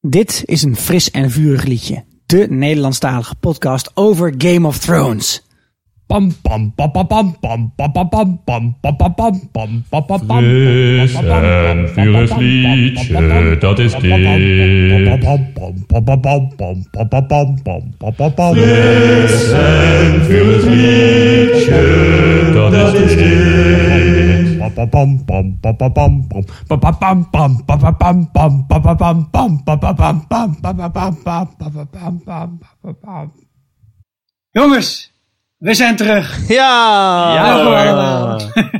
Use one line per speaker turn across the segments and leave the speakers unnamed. Dit is een fris en vurig liedje. De Nederlandstalige podcast over Game of Thrones.
Pam pam pam pam pam pam pam pam pam pam pam pam pam pam pam pam pam.
Fris en vurig liedje, dat is dit. Fris en vurig liedje, dat is dit.
Jongens, we zijn terug.
Ja!
Hallo allemaal.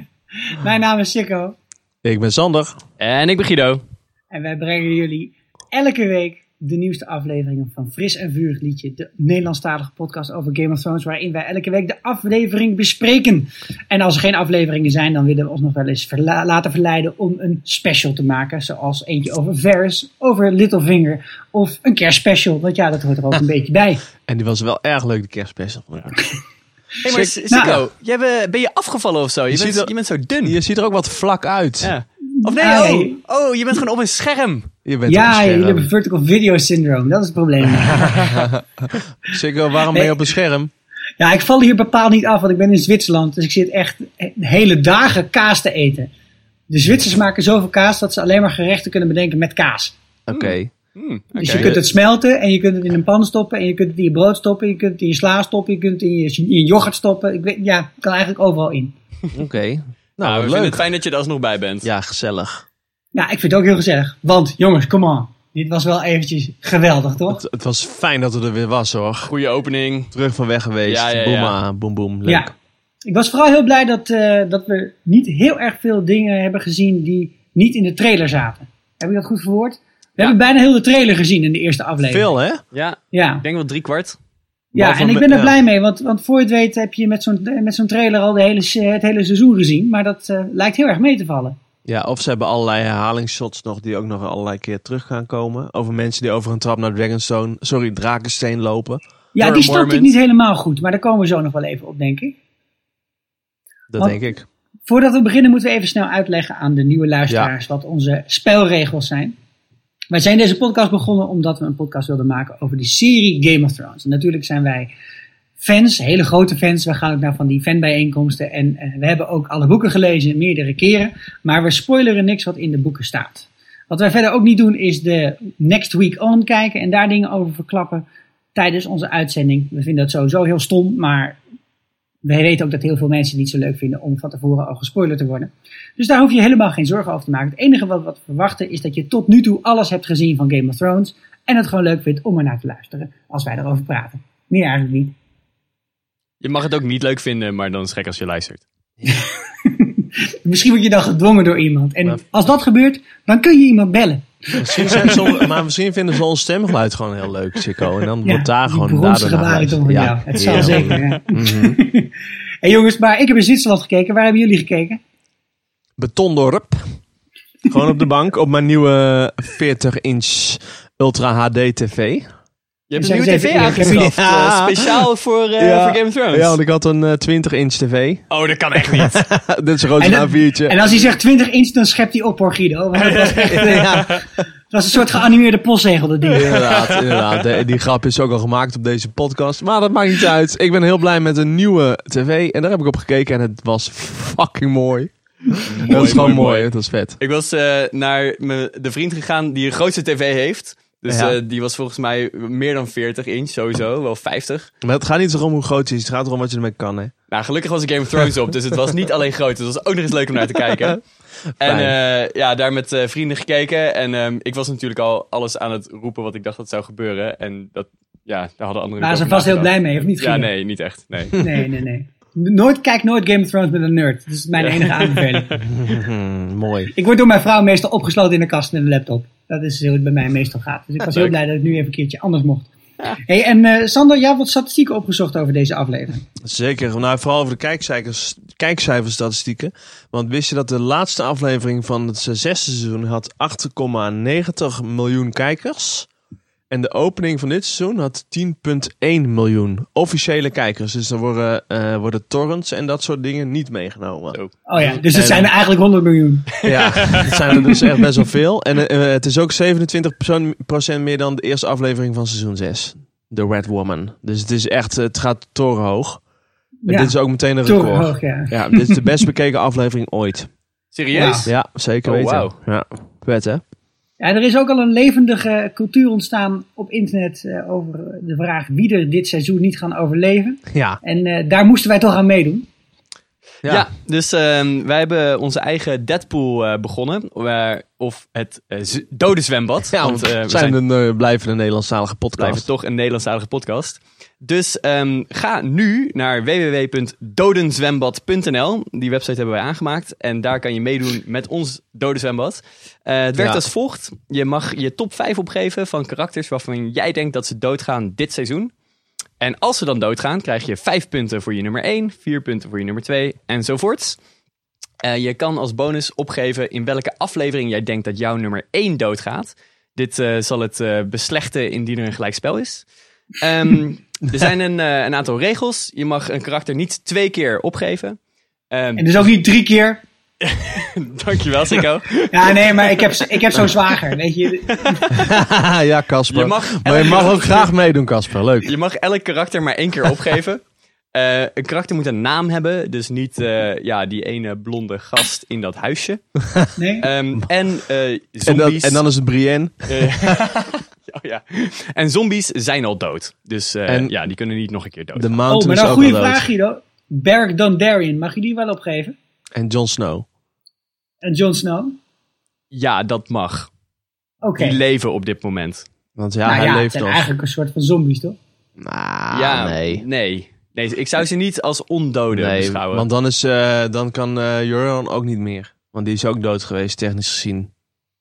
Mijn naam is Sikko
Ik ben Sander.
En ik ben Guido.
en wij brengen jullie elke week de nieuwste afleveringen van Fris en Vurig Liedje, de Nederlandstalige podcast over Game of Thrones, waarin wij elke week de aflevering bespreken. En als er geen afleveringen zijn, dan willen we ons nog wel eens verla- laten verleiden om een special te maken, zoals eentje over Varys, over Littlefinger of een kerstspecial, want ja, dat hoort er ook een beetje bij.
En die was wel erg leuk, de kerstspecial.
Hé,
Sick-
maar S- Sikko,
Nou.
jij be- ben je afgevallen of zo? Je, bent,
ziet er-
je bent zo dun.
Je ziet er ook wat vlak uit.
Ja. Of nee,
Nee.
Oh, oh, je bent gewoon op een scherm.
Je bent op een
ja,
scherm.
jullie hebben vertical video syndroom, dat is het probleem.
Sikko, waarom ben je op een scherm?
Ja, ik val hier bepaald niet af, want ik ben in Zwitserland. Dus ik zit echt he- hele dagen kaas te eten. De Zwitsers maken zoveel kaas dat ze alleen maar gerechten kunnen bedenken met kaas.
Hmm.
Oké.
Dus je kunt het smelten en je kunt het in een pan stoppen. En je kunt het in je brood stoppen. Je kunt het in je sla stoppen. Je kunt het in je, in je yoghurt stoppen. Ik weet, ja, het kan eigenlijk overal in.
Oké.
Nou,
Nou,
we vinden
leuk.
het fijn dat je er alsnog bij bent.
Ja, gezellig.
Ja, ik vind het ook heel gezellig. Want jongens, come on. Dit was wel eventjes geweldig, toch?
Het, het was fijn dat het er weer was, hoor.
Goeie opening.
Terug van weg geweest.
Ja, ja, ja.
Boema, boem, boem. Leuk.
Ja. Ik was vooral heel blij dat, eh, dat we niet heel erg veel dingen hebben gezien die niet in de trailer zaten. Heb ik dat goed verwoord? We hebben bijna heel de trailer gezien in de eerste aflevering.
Veel, hè?
Ja,
Ja,
ik denk wel drie kwart.
ja
Behalve
en ik
met-
ben er
ja.
blij mee, want, want voor je het weet heb je met zo'n, met zo'n trailer al de hele, se- het hele seizoen gezien. Maar dat eh, lijkt heel erg mee te vallen.
Ja, of ze hebben allerlei herhalingsshots nog die ook nog allerlei keer terug gaan komen. Over mensen die over een trap naar Dragonstone, sorry, Drakensteen lopen.
Ja,
Jorah
die snapte ik
Mormont.
niet helemaal goed, maar daar komen we zo nog wel even op, denk ik.
Dat
Want-
denk ik.
Voordat we beginnen moeten we even snel uitleggen aan de nieuwe luisteraars wat onze spelregels zijn. Wij zijn deze podcast begonnen omdat we een podcast wilden maken over de serie Game of Thrones. En natuurlijk zijn wij fans, hele grote fans. We gaan ook naar van die fanbijeenkomsten. En eh, we hebben ook alle boeken gelezen, meerdere keren. Maar we spoileren niks wat in de boeken staat. Wat wij verder ook niet doen is de Next Week On kijken en daar dingen over verklappen tijdens onze uitzending. We vinden dat sowieso heel stom, maar wij weten ook dat heel veel mensen het niet zo leuk vinden om van tevoren al gespoilerd te worden. Dus daar hoef je helemaal geen zorgen over te maken. Het enige wat we verwachten is dat je tot nu toe alles hebt gezien van Game of Thrones. En het gewoon leuk vindt om er naar te luisteren als wij erover praten. Meer eigenlijk niet.
Je mag het ook niet leuk vinden, maar dan is het gek als je luistert.
Misschien word je dan gedwongen door iemand. En
Maar-
als dat gebeurt, dan kun je iemand bellen.
Misschien zijn sommige- maar misschien vinden ze ons stemgeluid gewoon heel leuk, Sikko. En dan wordt daar
die
gewoon daardoor
bronstige
naar
bariton
geluisterd.
van jou. Het zal
heerlijk.
zeker. ja.
Mhm.
Hé jongens, maar ik heb in Zwitserland gekeken. Waar hebben jullie gekeken?
Betondorp. Gewoon op de bank, op mijn nieuwe 40-inch Ultra HD TV.
Je hebt
Zeg
een
eens
nieuwe tv
even eerlijk, heb je
aangeschaft.
Ja.
eh, speciaal voor, eh, voor Game of Thrones.
Ja, want ik had een eh, 20-inch TV.
Oh, dat kan echt niet.
Dit is gewoon
En
zo'n
dat- En
A4'tje.
als hij zegt 20 inch, dan schept hij op hoor Guido. Want dat was echt, eh, Het was een soort geanimeerde postzegel, dat ding.
Inderdaad, inderdaad. De- die grap is ook al gemaakt op deze podcast. Maar dat maakt niet uit. Ik ben heel blij met een nieuwe tv. En daar heb ik op gekeken en het was fucking mooi. dat is gewoon mooi, Het was vet.
Ik was eh, naar me, de vriend gegaan die een grootste tv heeft. Dus
Ja.
eh, die was volgens mij meer dan 40 inch, sowieso. Wel 50.
Maar het gaat niet zo om hoe groot het is. Het gaat erom wat je ermee kan, hè.
Nou, gelukkig was er Game of Thrones op, dus het was niet alleen groot. Het was ook nog eens leuk om naar te kijken. En eh, ja, daar met eh, vrienden gekeken. En ehm, ik was natuurlijk al alles aan het roepen wat ik dacht dat zou gebeuren. En dat, ja, daar hadden anderen
Daar
ook
zijn
over
vast heel
nagedacht.
blij mee, of niet?
Ja,
Guido?
nee, niet echt. Nee.
Nee, nee, nee. Nooit, kijk nooit Game of Thrones met een nerd. Dat is mijn enige aanbeveling.
Hmm, mooi.
Ik word door mijn vrouw meestal opgesloten in een kast met een laptop. Dat is hoe het bij mij meestal gaat. Dus ik was heel
Leuk.
blij dat ik nu even een keertje anders mocht. Hey, en eh, Sander, jij hebt wat statistieken opgezocht over deze aflevering.
Zeker, nou, vooral over de kijkcijfers, kijkcijferstatistieken. Want wist je dat de laatste aflevering van het zesde seizoen had 8,90 miljoen kijkers? En de opening van dit seizoen had 10,1 miljoen officiële kijkers. Dus dan worden, eh, worden torrents en dat soort dingen niet meegenomen.
Zo.
Oh ja, dus het
En-
zijn er eigenlijk 100 miljoen.
Ja, dat zijn er dus echt best wel veel. En eh, eh, het is ook 27% meer dan de eerste aflevering van seizoen 6. The Red Woman. Dus het is echt, het gaat torenhoog. En
Ja,
dit is ook meteen een record.
torenhoog, ja.
Ja, dit is de best bekeken aflevering ooit.
Serieus?
Ja, zeker
Oh,
weten.
wauw. Nou,
Ja, vet hè?
Ja, er is ook al een levendige cultuur ontstaan op internet eh, over de vraag wie er dit seizoen niet gaan overleven.
Ja.
En eh, daar moesten wij toch aan meedoen.
Ja, dus ehm, wij hebben onze eigen Deadpool eh, begonnen. Waar, of het eh, z- dode zwembad.
Ja,
want
want
eh, we
zijn,
zijn
een eh, blijvende Nederlandstalige
blijven
podcast.
toch een Nederlandstalige podcast. Dus ehm, ga nu naar www.dodenzwembad.nl. Die website hebben wij aangemaakt. En daar kan je meedoen met ons dode zwembad. Eh, het werkt
Ja.
als volgt. Je mag je top 5 opgeven van karakters waarvan jij denkt dat ze doodgaan dit seizoen. En als ze dan doodgaan, krijg je 5 punten voor je nummer 1, 4 punten voor je nummer 2 enzovoorts. Eh, je kan als bonus opgeven in welke aflevering jij denkt dat jouw nummer 1 doodgaat. Dit eh, zal het eh, beslechten indien er een gelijkspel is. Ehm, er zijn een, eh, een aantal regels. Je mag een karakter niet twee keer opgeven. Ehm,
En dus ook niet drie keer.
dankjewel, Sikko.
Ja, nee, maar ik heb, ik heb zo'n zwager, weet je.
ja, Casper.
Je mag
maar je
elke
mag ook
dag-
graag meedoen, Casper. Leuk.
Je mag elk karakter maar één keer opgeven. Eh, een karakter moet een naam hebben, dus niet eh, ja, die ene blonde gast in dat huisje.
Nee?
Ehm, en eh,
En dan,
zombies.
en dan is het Brienne.
eh, oh ja. En zombies zijn al dood. Dus eh,
En-
ja, die kunnen niet nog een keer dood.
De
Oh,
Mountain
maar
is
dan
ook
een goede
al dood.
vraag, Guido. Beric Dondarrion, mag je die wel opgeven?
En Jon Snow.
En Jon Snow?
Ja, dat mag.
Oké.
Die leven op dit moment.
Want ja,
Nou
hij
ja, het
leeft
zijn
nog.
eigenlijk een soort van zombies, toch?
Nou,
ja,
nee.
nee. Nee, ik zou ze niet als ondoden
Nee,
beschouwen.
want dan, is, eh, dan kan eh Joran ook niet meer. Want die is ook dood geweest, technisch gezien.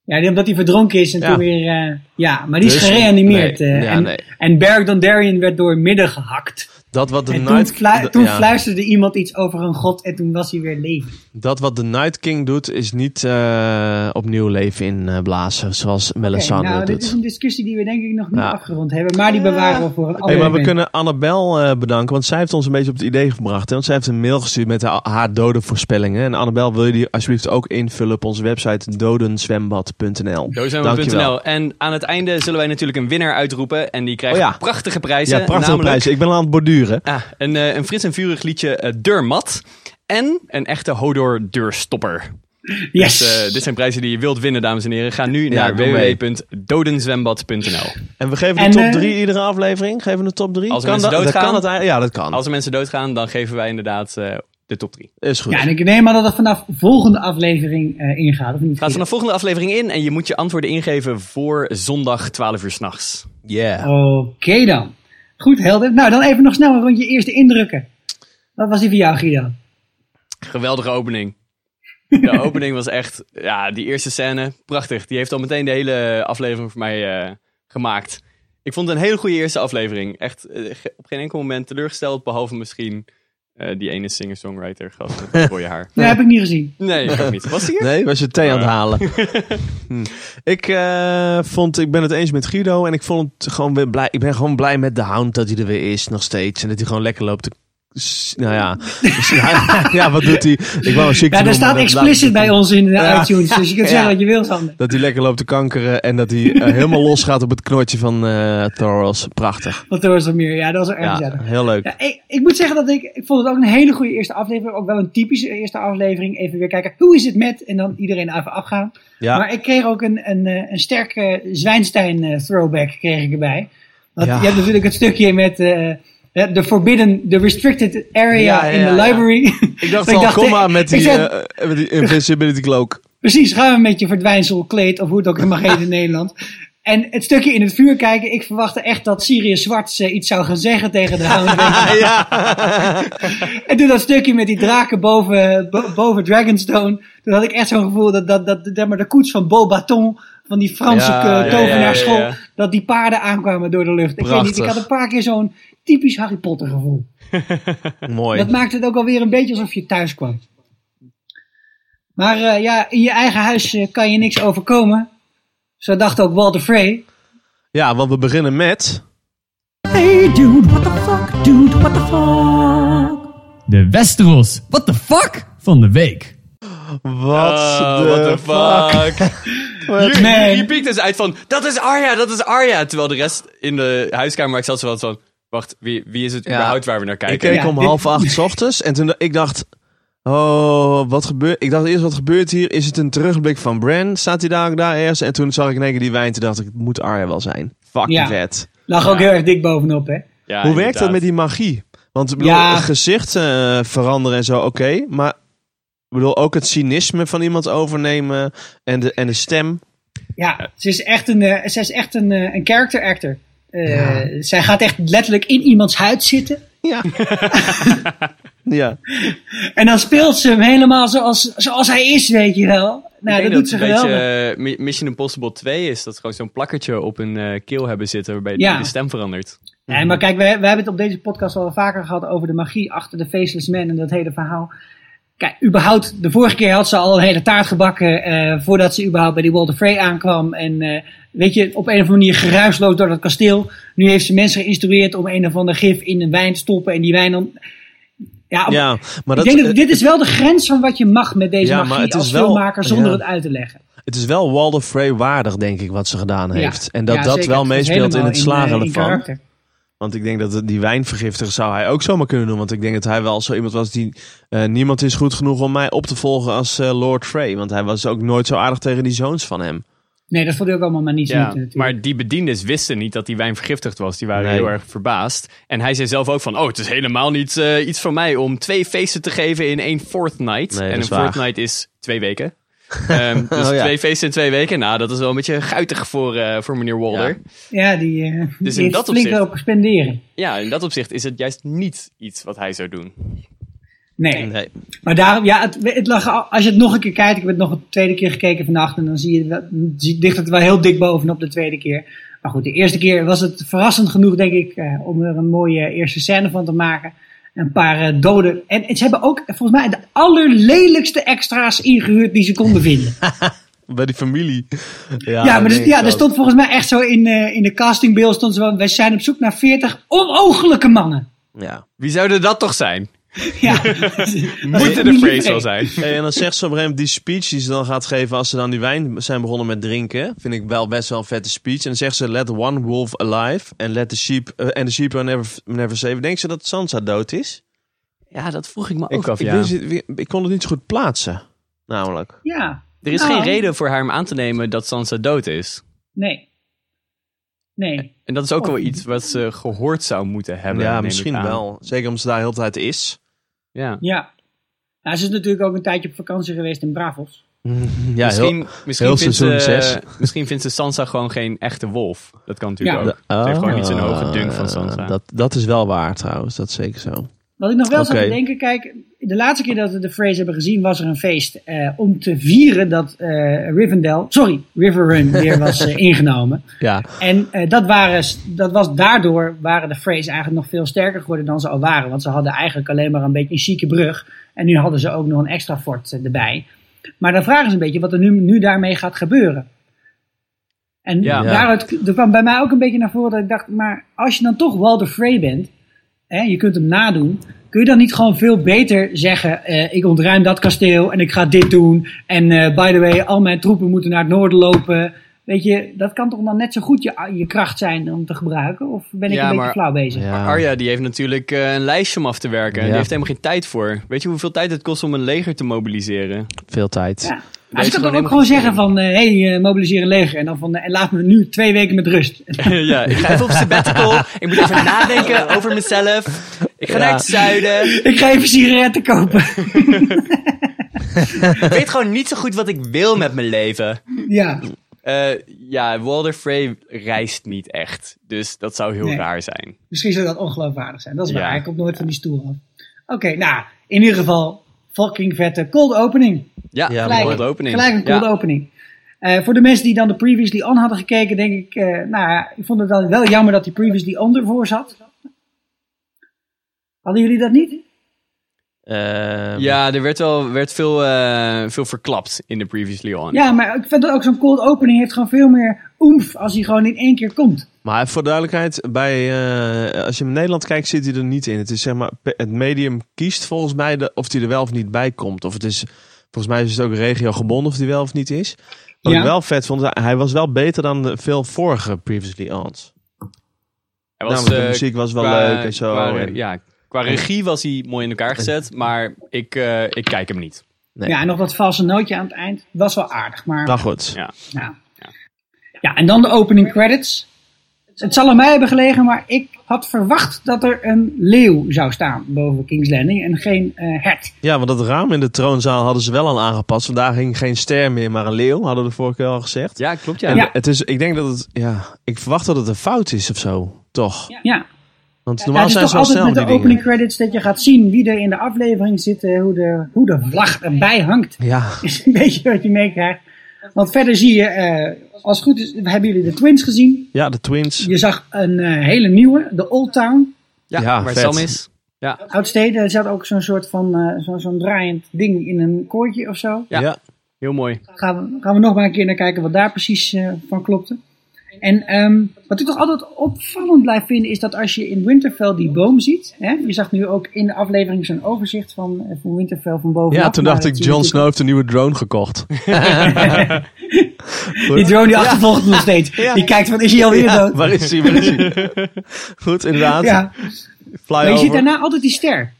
Ja, die- omdat hij verdronken is en
Ja.
toen weer... eh, ja, maar die
Dus-
is gereanimeerd.
nee,
eh,
ja,
en,
nee.
en Beric Dondarrion werd door midden gehakt.
Dat wat de
en toen,
Night,
flu-
d-
toen
ja,
fluisterde iemand iets over een god en toen was hij weer levend.
dat wat de Night King doet, is niet eh, opnieuw leven inblazen. Zoals
Oké,
Melisandre
nou, dit
doet.
is een discussie die we denk ik nog niet
Ja.
afgerond hebben. Maar die bewaren we voor een andere
Eh, Hey, maar we
moment.
kunnen Annabel eh, bedanken, want zij heeft ons een beetje op het idee gebracht. Hè? Want zij heeft een mail gestuurd met haar, haar dode voorspellingen. En Annabel, wil je die alsjeblieft ook invullen op onze website dodenzwembad.nl. Dankjewel.
Dozemmer.nl. En aan het einde zullen wij natuurlijk een winnaar uitroepen. En die krijgt
Oh ja.
prachtige prijzen.
Ja, prachtige
namelijk,
prijs. Ik ben al aan het borduren.
Ah, een, eh, een frits en vurig liedje eh, Deurmat. En een echte Hodor deurstopper.
Yes.
Dus, eh, dit zijn prijzen die je wilt winnen, dames en heren. Ga nu naar
doe mee.
www.dodenzwembad.nl.
En we geven
En,
de top
eh,
3 iedere aflevering. Geven we de top 3?
Als er
kan
mensen
dat, dat
doodgaan?
kan het eigenlijk. Ja, dat kan.
Als er mensen doodgaan, dan geven wij inderdaad eh, de top 3.
Is goed.
Ja, en ik neem aan dat het vanaf volgende aflevering eh, ingaat, of niet?
Gaat vanaf volgende aflevering in en je moet je antwoorden ingeven voor zondag 12 uur s'nachts.
Yeah.
Oké dan. Goed, helder. Nou, dan even nog snel een rondje eerste indrukken. Wat was die voor jou, Guido?
Geweldige opening. De opening was echt, ja, die eerste scène, prachtig. Die heeft al meteen de hele aflevering voor mij eh, gemaakt. Ik vond het een hele goede eerste aflevering. Echt eh, ge- op geen enkel moment teleurgesteld, behalve misschien eh, die ene singer-songwriter gast met het rode haar.
Nee, heb ik niet gezien.
Nee, ook niet. Was die er?
Nee, was je thee aan het
Ah.
halen. Hm. Ik eh, vond, ik ben het eens met Guido en ik vond het gewoon weer blij. Ik ben gewoon blij met de hound dat hij er weer is nog steeds en dat hij gewoon lekker loopt. te- s- Nou ja, Dus ja, ja, wat doet hij? Ik wou een ziekte
Ja, daar
noemen,
staat
dat
explicit
laat-
bij ons in de
Ja.
iTunes, dus je kunt
Ja.
zeggen wat je wilt, Sander.
Dat hij lekker loopt te kankeren en dat hij eh, helemaal los gaat op het knootje van eh Thoros. Prachtig.
Wat er was er meer. Ja, dat was er erg
Ja, heel leuk.
Ja, ik, ik moet zeggen dat ik, ik vond het ook een hele goede eerste aflevering. Ook wel een typische eerste aflevering. Even weer kijken, hoe is het met? En dan iedereen even afgaan.
Ja.
Maar ik kreeg ook een, een, eh, een sterke Zwijnstein eh, throwback kreeg ik erbij. Want
Ja.
je hebt natuurlijk het stukje met eh, eh, de forbidden, de restricted area
Ja, ja,
in
ja,
the
ja.
library.
Ik dacht
Maar
al, kom
eh,
maar met
ik
die,
zei,
eh, met die invincibility cloak.
Precies, ga maar met je verdwijnsel, kleed of hoe het ook mag heten in Nederland. En het stukje in het vuur kijken, ik verwachtte echt dat Sirius Zwarts eh, iets zou gaan zeggen tegen de hound.
Ja.
en toen dat stukje met die draken boven, bo- boven Dragonstone, toen had ik echt zo'n gevoel dat, dat, dat, dat maar de koets van Beaubaton, van die Franse
Ja,
eh,
ja, ja,
tovenaarschool,
ja, ja.
dat die paarden aankwamen door de lucht. Ik, weet niet, ik
Prachtig.
had een paar keer zo'n typisch Harry Potter gevoel.
Mooi.
Dat maakt het ook alweer een beetje alsof je thuis kwam. Maar eh, ja, in je eigen huis eh, kan je niks overkomen. Zo dacht ook Walter Frey.
Ja, want we beginnen met...
Hey dude, what the fuck, dude, what the fuck?
De Westeros, what the fuck, van de week.
Wat
Ah,
de
what the fuck? Hier,
Nee.
hier, hier piekt dus uit van, dat is Arya, dat is Arya. Terwijl de rest in de huiskamer waar ik zat, zo was van, wacht, wie, wie is het überhaupt waar we naar
Ik eh,
kijken?
keek
Ja,
om
dit-
half acht 's ochtends en toen d- ik dacht... Oh, wat gebeurt... Ik dacht eerst, wat gebeurt hier? Is het een terugblik van Bran? Staat hij daar, daar eerst? En toen zag ik in één keer die wijn. Toen dacht ik, het moet Arya wel zijn. Fucking
Ja.
vet.
Lag ook heel erg dik bovenop, hè?
Ja,
Hoe werkt dat
inderdaad.
met die magie? Want ik bedoel,
Ja.
het gezicht eh, veranderen en zo, oké. maar ik bedoel, ook het cynisme van iemand overnemen en de, en de stem.
Ja, ze is echt een, eh, ze is echt een, eh, een character actor. Eh, Zij gaat echt letterlijk in iemands huid zitten.
Ja. ja.
En dan speelt ze hem helemaal zoals, zoals hij is, weet je wel. Nou,
Ik
dat
denk
doet ze
het een
geweldig.
beetje, eh, Mi- Mission Impossible 2 is dat ze gewoon zo'n plakkertje op een eh, keel hebben zitten waarbij
Ja.
de stem verandert.
Mhm.
Nee, maar kijk, we, we hebben het op deze podcast al vaker gehad over de magie achter de Faceless Man en dat hele verhaal. Kijk, überhaupt, de vorige keer had ze al een hele taart gebakken eh, voordat ze überhaupt bij die Walter Frey aankwam. En eh, weet je, op een of andere manier geruisloos door dat kasteel. Nu heeft ze mensen geïnstrueerd om een of ander gif in een wijn te stoppen en die wijn dan... Ja, op-
ja, maar
Ah, ik
dat, eh,
denk dat dit is wel de grens van wat je mag met deze
Ja, maar
magie
het is
als
wel-
filmmaker zonder
ja.
het uit te leggen.
het is wel Walder Frey waardig, denk ik, wat ze gedaan heeft.
Ja.
En dat
Ja,
dat
zeker.
wel
is
meespeelt in
helemaal
het
eh,
slagen
in
ervan.
karakter.
Want ik denk dat het- die wijnvergiftiger zou hij ook zomaar kunnen doen. Want ik denk dat hij wel zo iemand was die... eh, niemand is goed genoeg om mij op te volgen als eh, Lord Frey. Want hij was ook nooit zo aardig tegen die zoons van hem.
Nee, dat vond ik ook allemaal maar niet zo
Ja,
moeten natuurlijk.
maar die bediendes wisten niet dat die wijn vergiftigd was. Die waren
Nee.
heel erg verbaasd. En hij zei zelf ook van, oh, het is helemaal niet eh, iets van mij om twee feesten te geven in één fortnight.
Nee, dat
en een
is waar.
fortnight is twee weken. Ehm, dus
Oh, ja.
twee feesten in twee weken, nou, dat is wel een beetje guitig voor, eh, voor meneer Walder.
Ja.
Ja.
Ja, die, eh die
Dus in
heeft
dat
flink
opzicht-
lopen spenderen.
in dat opzicht is het juist niet iets wat hij zou doen.
Nee. Maar daarom, ja, het, het lag, al- als je het nog een keer kijkt, ik heb het nog een tweede keer gekeken vannacht en dan zie je, wel- zie, ligt het wel heel dik bovenop de tweede keer. Maar goed, de eerste keer was het verrassend genoeg, denk ik, eh, om er een mooie eerste scène van te maken. Een paar eh, doden. En, en ze hebben ook, volgens mij, de allerlelijkste extra's ingehuurd die ze konden vinden.
Ah,
Bij die familie.
Ja, maar dus, ja, er stond volgens mij echt zo in, eh, in de castingbeeld, stond zo, van, wij zijn op zoek naar 40 onogelijke mannen.
Ja.
Wie zouden dat toch zijn?
Ja.
Moeten de phrase wel zijn.
Hey, en dan zegt ze op een gegeven moment die speech die ze dan gaat geven als ze dan die wijn zijn begonnen met drinken. Vind ik wel best wel een vette speech. En dan zegt ze, let one wolf alive and let the sheep, eh, and the sheep are never, never safe. Denkt ze dat Sansa dood is?
Ja, dat vroeg ik me ook
ik,
af,
ik,
ja.
wist het- ik, kon het niet zo goed plaatsen, namelijk.
Ja.
Er is
Nou.
Oh.
geen reden voor haar om aan te nemen dat Sansa dood is.
Nee. Nee.
En dat is ook wel iets wat ze gehoord zou moeten hebben. neem
Oh. ja,
ik
misschien
aan.
wel. Zeker omdat ze daar de hele tijd is.
Ja.
Ja. Nou, ze is natuurlijk ook een tijdje op vakantie geweest in Bravos.
Ja,
misschien, misschien,
heel
vindt
seizoen
ze,
zes.
misschien vindt ze Sansa gewoon geen echte wolf. Dat kan natuurlijk
Ja.
ook. Ze heeft gewoon niet zo'n hoge dunk van Sansa.
Oh. Ah, Dat, dat is wel waar trouwens, dat is zeker zo.
Wat ik nog wel zat
Oké.
te denken, kijk, de laatste keer dat we de phrase hebben gezien was er een feest eh, om te vieren dat eh, Rivendell, sorry, Riverrun weer was eh, ingenomen.
Ja,
En eh, dat, waren, s- dat was daardoor waren de Freys eigenlijk nog veel sterker geworden dan ze al waren. Want ze hadden eigenlijk alleen maar een beetje een chique brug. En nu hadden ze ook nog een extra fort eh, erbij. Maar dan vragen ze een beetje wat er nu, nu daarmee gaat gebeuren. En
Ja.
daaruit k- er kwam bij mij ook een beetje naar voren dat ik dacht... maar als je dan toch Walder Frey bent, hè, je kunt hem nadoen... kun je dan niet gewoon veel beter zeggen... eh, ik ontruim dat kasteel en ik ga dit doen... en eh, by the way, al mijn troepen moeten naar het noorden lopen... Weet je, dat kan toch dan net zo goed je, je kracht zijn om te gebruiken? Of ben ik
Ja,
een beetje
maar-
flauw bezig?
ja.
Arya die heeft natuurlijk eh, een lijstje om af te werken. en
Ja.
Die heeft helemaal geen tijd voor. Weet je hoeveel tijd het kost om een leger te mobiliseren?
veel tijd.
Ja. Maar ze
Deze
kan toch
gewoon
ook gewoon zeggen van, hé, hey, eh, mobiliseer een leger. En dan van, eh, en laat me nu twee weken met rust.
ja, ik ga even op sabbatical. ik moet even nadenken over mezelf. Ik ga naar het zuiden.
ik ga even sigaretten kopen.
Ik weet gewoon niet zo goed wat ik wil met mijn leven.
ja.
Eh, ja, Walder Frey reist niet echt. Dus dat zou heel
Nee.
raar zijn.
Misschien zou dat ongeloofwaardig zijn. Dat is waar.
Ja.
Hij komt nooit van die stoel af. Oké, nou, in ieder geval fucking vette cold opening.
Ja,
Ja,
een
Gelijk,
cold opening.
gelijk een cold
Ja.
opening. Eh, voor de mensen die dan de Previously On hadden gekeken, denk ik, eh, nou ja, ik vond het dan wel jammer dat die Previously On ervoor zat. Hadden jullie dat niet?
Ehm,
Ja, er werd wel werd veel, eh, veel verklapt in de Previously On.
Ja, maar ik vind dat ook zo'n cold opening heeft gewoon veel meer oemf als hij gewoon in één keer komt.
Maar voor duidelijkheid, bij, eh, als je in Nederland kijkt, zit hij er niet in. Het is zeg maar, pe- het medium kiest volgens mij de, of hij er wel of niet bij komt. Of het is, volgens mij is het ook regio gebonden of hij wel of niet is. Wat
Ja.
ik wel vet vond, hij was wel beter dan de veel vorige Previously Ons.
Hij was,
Namelijk, de
eh,
muziek was wel
qua-
leuk en zo.
Qua,
en-
ja, qua regie was hij mooi in elkaar gezet, maar ik, eh, ik kijk hem niet.
Nee.
Ja, en nog dat valse nootje aan het eind was wel aardig, maar...
Nou goed.
Ja.
Nou. Ja, en dan de opening credits. Het zal aan mij hebben gelegen, maar ik had verwacht dat er een leeuw zou staan boven King's Landing en geen eh hert.
Ja, want dat raam in de troonzaal hadden ze wel al aangepast. Vandaag hing geen ster meer, maar een leeuw, hadden we de vorige keer al gezegd.
Ja, klopt
En
ja.
Ja.
Het is, ik denk dat het, ja, ik verwacht dat het een fout is of zo, toch?
Ja,
Want
Ja,
normaal
het is
zijn
toch
ze
altijd
wel snel
met
met
de
die
opening
dingen.
credits dat je gaat zien wie er in de aflevering zit, eh, hoe de, hoe de vlag erbij hangt.
Ja,
is een beetje wat je meekrijgt. Want verder zie je, eh, als het goed is, hebben jullie de Twins gezien.
ja, de twins.
Je zag een eh, hele nieuwe, de Old Town.
Ja,
Ja,
waar
vet.
Sam is.
Oudstede, er zat ook zo'n soort van, eh, zo- zo'n draaiend ding in een koordje of zo.
Ja.
Ja.
Heel mooi.
Gaan we, gaan we nog maar een keer naar kijken wat daar precies eh, van klopte. En ehm, wat ik toch altijd opvallend blijf vinden is dat als je in Winterfell die boom ziet. Hè, je zag nu ook in de aflevering zo'n overzicht van, eh, van Winterfell van bovenaf.
Ja, toen
maar
dacht
dat
ik,
zie je
Jon
natuurlijk-
Snow heeft een nieuwe drone gekocht.
Die drone die achtervolgt hem nog steeds. Die kijkt van, is hij alweer
Ja,
dood?
waar is hij, waar is hij? Goed, inderdaad.
Ja,
Fly
maar je ziet
over.
daarna altijd die ster.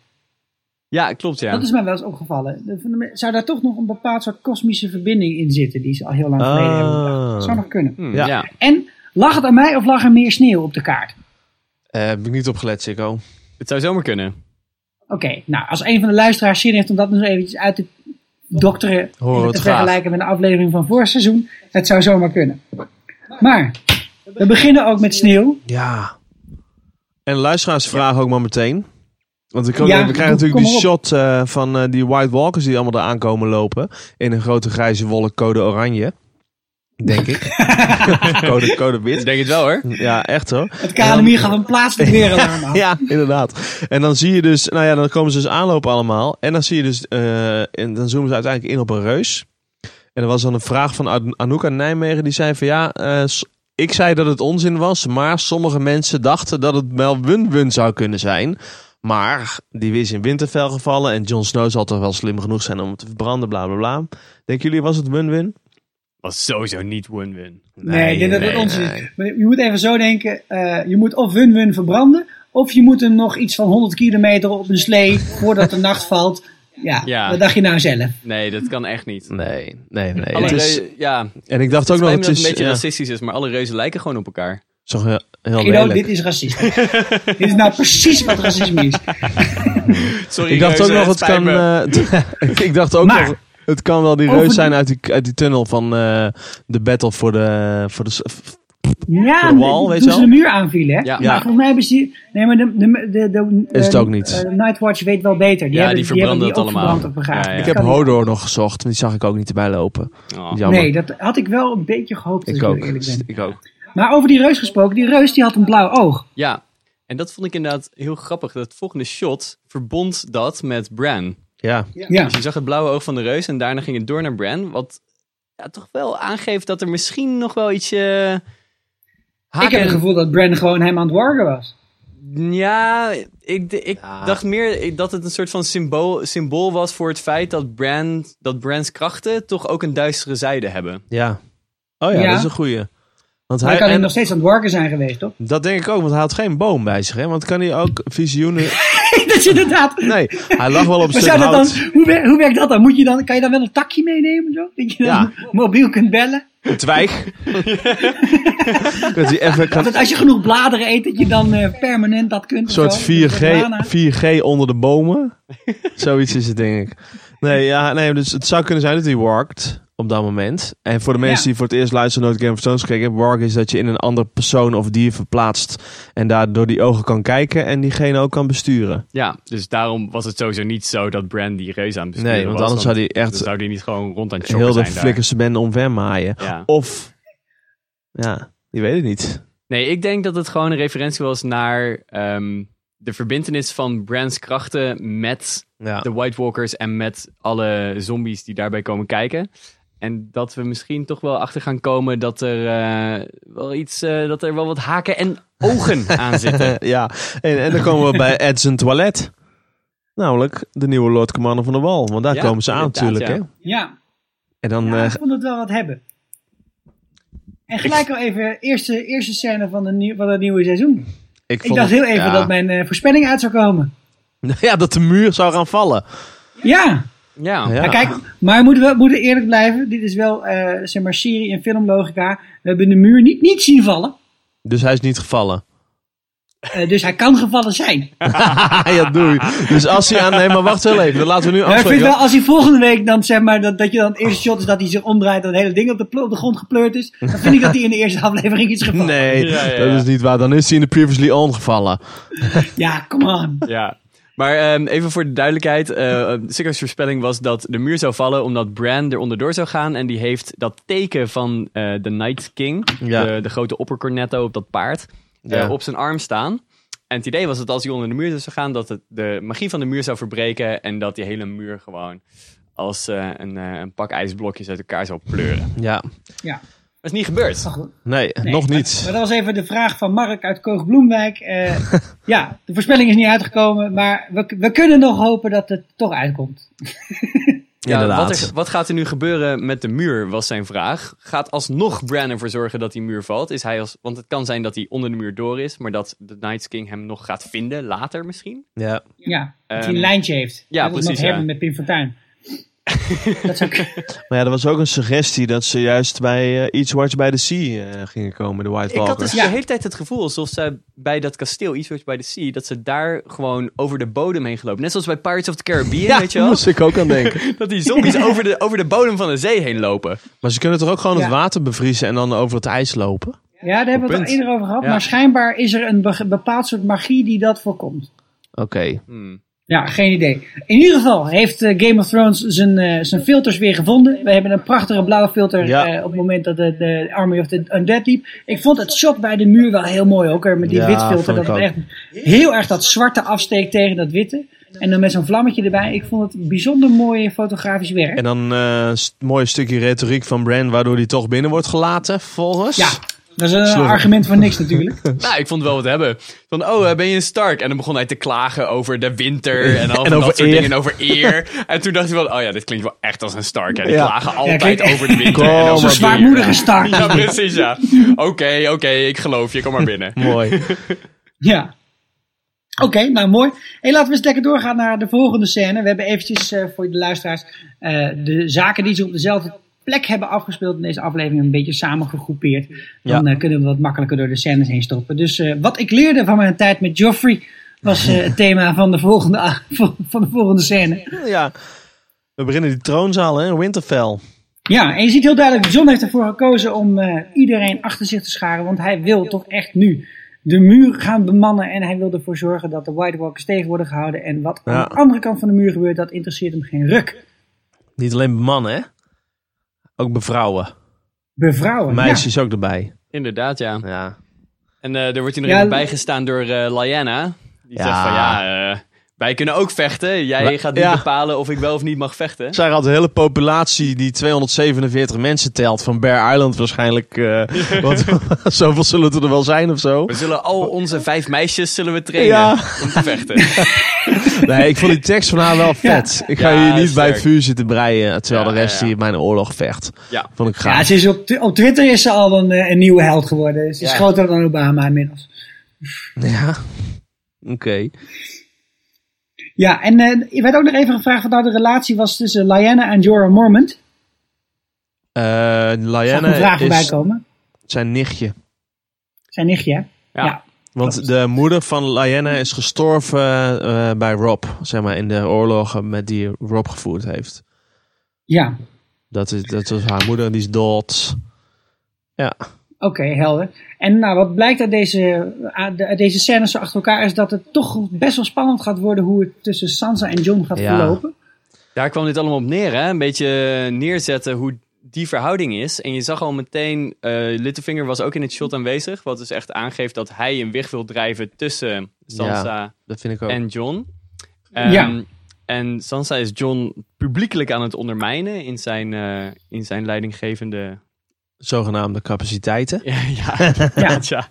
Ja, klopt ja.
Dat is mij wel eens opgevallen. Dat vinden me- Zou daar toch nog een bepaald soort kosmische verbinding in zitten die ze al heel lang
Ah.
geleden hebben bedacht? Dat zou nog kunnen.
Hm,
Ja.
ja.
En lag het aan mij of lag er meer sneeuw op de kaart?
Eh, heb ik niet opgelet, Sikko.
Het zou zomaar kunnen.
Oké, nou als een van de luisteraars zin heeft om dat nog eventjes uit te dokteren
Horen we
en
het
te
graag.
vergelijken met een aflevering van vorig seizoen, het zou zomaar kunnen. Maar we beginnen ook met sneeuw.
Ja. En luisteraars vragen ook maar meteen. Want we, komen-
Ja,
we
doe-
krijgen natuurlijk
kom
die
maar
shot eh, van eh, die White Walkers die allemaal daar aankomen lopen. In een grote grijze wolk code oranje. Denk ik. code, code
Ik
wit.
denk het wel hoor.
Ja, echt hoor.
Het KNMI gaf een plaatselijk weeralarm aan.
Ja, inderdaad. En dan zie je dus, nou ja, dan komen ze dus aanlopen allemaal. En dan zie je dus, eh, en dan zoomen ze uiteindelijk in op een reus. En er was dan een vraag van An- Anouk aan Nijmegen, die zei van ja, eh, s- ik zei dat het onzin was, maar sommige mensen dachten dat het wel win-win zou kunnen zijn. Maar die is in Winterfell gevallen en Jon Snow zal toch wel slim genoeg zijn om hem te verbranden, bla bla bla. Denken jullie, was het win-win?
Was sowieso niet win-win.
Nee, ik denk dat
nee,
het ons
nee.
is. Maar Je moet even zo denken, eh, je moet of win-win verbranden, of je moet hem nog iets van 100 kilometer op een slee voordat de nacht valt. Ja,
Ja.
dat dacht je nou zelf.
Nee, dat kan echt niet.
Nee, nee, nee.
Alle
Het is-
reuzen, ja, het
en ik dacht ook nog,
spijt
het
me dat het
is
een beetje
ja,
racistisch is, maar alle reuzen lijken gewoon op elkaar.
zo heel, heel
Guido,
lelijk.
dit is racistisch. dit is nou precies wat racisme is.
Sorry,
Ik dacht ook
reuzen,
nog, het
spijt
kan.
me.
eh, ik dacht ook
Maar-
nog. Het kan wel die
Over
reus
die-
zijn uit die, uit die tunnel van eh, de battle voor de. Voor de s- f-
Ja,
Voor de wal,
toen
weet je
ze
wel?
de muur aanvielen. Hè?
Ja.
Maar volgens mij hebben ze... Nee, maar de, de, de, de,
Is het
eh,
ook niet.
eh, Nightwatch weet wel beter. Die
Ja,
hebben,
die
die hebben
verbranden
die
het
ook
allemaal.
verbrand op elkaar.
Ja, ja.
ik
Dat
heb
kan niet.
Hodor nog gezocht, maar die zag ik ook niet erbij lopen.
Oh.
Jammer.
Nee, dat had ik wel een beetje gehoopt. als
ik
heel
ook.
eerlijk ben.
Ik ook.
Maar over die reus gesproken. Die reus die had een blauw oog.
Ja, en dat vond ik inderdaad heel grappig. Dat volgende shot verbond dat met Bran.
Ja.
Ja.
Dus je zag het blauwe oog van de reus en daarna ging het door naar Bran. Wat ja, toch wel aangeeft dat er misschien nog wel iets... eh
Ik heb
haken-
het gevoel dat Bran gewoon hem aan het wargen was.
Ja, ik, ik dacht meer dat het een soort van symbool, symbool was voor het feit dat, brand, dat brands krachten toch ook een duistere zijde hebben.
ja. Oh ja,
Ja.
dat is een goeie. Want
Maar
hij,
hij kan
en-
hem nog steeds aan het wargen zijn geweest, toch?
dat denk ik ook, want hij had geen boom bij zich. Hè? Want kan hij ook visioenen.
dat is inderdaad...
Nee, hij lag wel op
Maar zou
zijn
dat
hout.
dan, hoe, wer- hoe werkt dat dan? Moet je dan? Kan je dan wel een takje meenemen? Zo? Dat je dan
Ja.
mobiel kunt bellen?
Een twijg. dat hij even kan
Dat als je genoeg bladeren eet, dat je dan eh, permanent dat kunt. of
Een soort
zo. Dat
4G,
je banaan-
4G onder de bomen. Zoiets is het, denk ik. Nee, ja, nee, dus het zou kunnen zijn dat hij warkt op dat moment. En voor de mensen
Ja.
die voor het eerst luisteren nooit Game of Thrones gekeken hebben, wark is dat je in een andere persoon of dier verplaatst en daardoor die ogen kan kijken en diegene ook kan besturen.
Ja, dus daarom was het sowieso niet zo dat Brand die reus aan het besturen
Nee, want
was, dus
anders zou die echt
dan zou die niet gewoon rond aan het
Heel
shoppen
de
zijn daar.
flikkerse ben omver maaien.
Ja.
Of, ja, je weet het niet.
Nee, ik denk dat het gewoon een referentie was naar ehm, de verbindenis van Brands krachten met
Ja.
de White Walkers en met alle zombies die daarbij komen kijken. En dat we misschien toch wel achter gaan komen dat er eh, wel iets, eh, dat er wel wat haken en ogen aan zitten.
ja. En, en dan komen we bij Edson Toilet. Namelijk de nieuwe Lord Commander van de Wal. Want daar
Ja,
komen ze aan
inderdaad,
natuurlijk.
ja.
Hè?
Ja,
En dan...
ja,
eh,
ik vond het wel wat hebben. En gelijk al even, eerste, eerste scène van, de nieuw, van het nieuwe seizoen.
ik,
Ik
vond
dacht
het-
heel even
ja.
dat mijn eh, voorspelling uit zou komen.
Ja, dat de muur zou gaan vallen.
Ja,
Ja,
Ja.
maar kijk, maar we moeten, wel, moeten eerlijk blijven. Dit is wel, eh zeg maar, serie- en filmlogica. We hebben de muur niet, niet zien vallen.
Dus hij is niet gevallen.
Eh, dus hij kan gevallen zijn.
ja, doei. Dus als hij aan... Nee, maar wacht heel even. Dan laten we nu
Maar ik vind
afspreken.
wel, als hij volgende week dan zeg maar, dat, dat je dan het eerste shot is dat hij zich omdraait en het hele ding op de, pl- op de grond gepleurd is. Dan vind ik dat hij in de eerste aflevering is gevallen.
Nee,
Ja, ja, ja.
dat is niet waar. Dan is hij in de Previously On gevallen.
Ja, come on.
Ja. Maar ehm, even voor de duidelijkheid. eh Sikker's voorspelling was dat de muur zou vallen omdat Bran er onderdoor zou gaan. En die heeft dat teken van eh, de Night King,
Ja.
de, de grote oppercornetto op dat paard, eh,
Ja.
op zijn arm staan. En het idee was dat als hij onder de muur zou gaan, dat het de magie van de muur zou verbreken. En dat die hele muur gewoon als eh, een, eh, een pak ijsblokjes uit elkaar zou pleuren. Dat
Ja.
Ja,
is niet gebeurd.
maar goed.
Nee,
Nee,
nog
maar-
niet.
Maar dat was even de vraag van Mark uit Koogbloemwijk. Eh, ja, de voorspelling is niet uitgekomen, maar we, we kunnen nog hopen dat het toch uitkomt.
Ja,
Inderdaad.
wat, er- wat gaat er nu gebeuren met de muur, was zijn vraag. Gaat alsnog Bran ervoor zorgen dat die muur valt? Is hij als, want het kan zijn dat hij onder de muur door is, maar dat de Night King hem nog gaat vinden, later misschien.
Ja.
Ja, dat hij
Ehm,
een lijntje heeft.
ja,
Net als Met
precies,
Herman
ja.
met Pim Fortuyn. dat zou kunnen.
Maar ja, er was ook een suggestie dat ze juist bij iets Each Watch by the Sea eh, gingen komen, de White
Ik had
Walkers.
dus
Ja.
de hele tijd het gevoel alsof ze bij dat kasteel, iets bij de sea, dat ze daar gewoon over de bodem heen gelopen. Net zoals bij Pirates of the Caribbean, dus- weet je
daar
wel?
moest ik ook aan denken.
Dat die zombies over, de, over de bodem van de zee heen lopen.
Maar ze kunnen toch ook gewoon
Ja.
het water bevriezen en dan over het ijs lopen?
Ja, daar hebben we het al
Punt.
eerder over gehad.
Ja.
Maar schijnbaar is er een be- bepaald soort magie die dat voorkomt.
Oké.
Hmm.
Ja, geen idee. In ieder geval heeft eh, Game of Thrones zijn, eh, zijn filters weer gevonden. We hebben een prachtige blauwe filter
Ja.
eh, op het moment dat de, de Army of the Undead liep. Ik vond het shot bij de muur wel heel mooi ook. hè, Met die
Ja,
wit filter.
vond
Dat
ik
het echt heel erg dat zwarte afsteekt tegen dat witte. En dan met zo'n vlammetje erbij. Ik vond het bijzonder mooi fotografisch werk.
En dan eh, st- mooi stukje retoriek van Bran, waardoor hij toch binnen wordt gelaten, volgens.
ja, dat is een
Slurp.
argument voor niks
Oh,
natuurlijk.
Nou, ik vond het wel wat hebben. Van, oh, eh, ben je een Stark? En dan begon hij te klagen over de winter en, al
En
van
over
dat soort
eer.
dingen en over eer. En toen dacht ik wel, oh ja, dit klinkt wel echt als een Stark. En die
Ja.
klagen altijd
klinkt-
over de winter
Kom
en
maar
over
Zo'n
eer.
zwaarmoedige start.
Ja, precies, ja. Oké, oké, ik geloof je. Kom maar binnen.
Mooi.
Ja. Oké, nou mooi. Hey, laten we eens lekker doorgaan naar de volgende scène. We hebben eventjes eh, voor de luisteraars eh, de zaken die ze op dezelfde plek hebben afgespeeld in deze aflevering een beetje samengegroepeerd. Dan
Ja.
eh, kunnen we wat makkelijker door de scènes heen stoppen. Dus eh, wat ik leerde van mijn tijd met Joffrey was eh, het thema van de volgende, a- van de volgende scène.
ja. We beginnen die troonzaal, hè, Winterfell.
Ja, en je ziet heel duidelijk, John heeft ervoor gekozen om eh, iedereen achter zich te scharen, want hij wil toch echt nu de muur gaan bemannen en hij wil ervoor zorgen dat de White Walkers tegen worden gehouden en wat
Ja.
aan de andere kant van de muur gebeurt, dat interesseert hem geen ruk.
Niet alleen bij mannen, hè? Ook bij vrouwen.
Bevrouwen.
Meisjes ook erbij.
Inderdaad, ja.
Ja.
En eh er wordt hij nog
Ja,
even
l-
bijgestaan door eh Lyanna. Die
Ja.
zegt van, ja, eh, wij kunnen ook vechten. Jij
La-
gaat niet
ja.
bepalen of ik wel of niet mag vechten.
Zij had de hele populatie die 247 mensen telt van Bear Island waarschijnlijk. eh, want zoveel zullen het er wel zijn of zo.
We zullen al onze vijf meisjes zullen we trainen
Ja.
om te vechten.
Nee, ik vond die tekst van haar wel vet. Ik ga
Ja,
hier niet bij
sterk.
het vuur zitten breien eh, terwijl
Ja,
de rest
ja, ja.
hier mijn oorlog vecht.
Ja.
Vond ik
Ja, ja
gaaf.
ze is op, op Twitter is ze al een, eh, een nieuwe held geworden. Ze is
Ja.
groter dan Obama inmiddels.
Ja. Oké.
Ja, en eh, je werd ook nog even gevraagd wat nou de relatie was tussen Lyanna en Jorah Mormont.
Eh
Zag ik een
Lyanna
vraag voorbij
is
komen.
zijn nichtje.
Zijn nichtje, hè?
Ja.
Want de moeder van Lyanna is gestorven eh, bij Rob. Zeg maar in de oorlogen met die Rob gevoerd heeft.
Ja.
Dat, is, dat was haar moeder, die is dood. Ja.
Oké, helder. En nou, wat blijkt uit deze, eh, uit deze scènes zo achter elkaar is dat het toch best wel spannend gaat worden hoe het tussen Sansa en Jon gaat
Ja.
verlopen.
Daar kwam dit allemaal op neer, hè? Een beetje eh, neerzetten hoe die verhouding is. En je zag al meteen, eh Littlefinger was ook in het shot aanwezig. Wat dus echt aangeeft dat hij een weg wil drijven tussen Sansa
Dat vind ik ook.
en John.
Ja.
En Sansa is John publiekelijk aan het ondermijnen in zijn, eh, in zijn leidinggevende...
Zogenaamde capaciteiten.
Ja, ja,
Ja.
ja.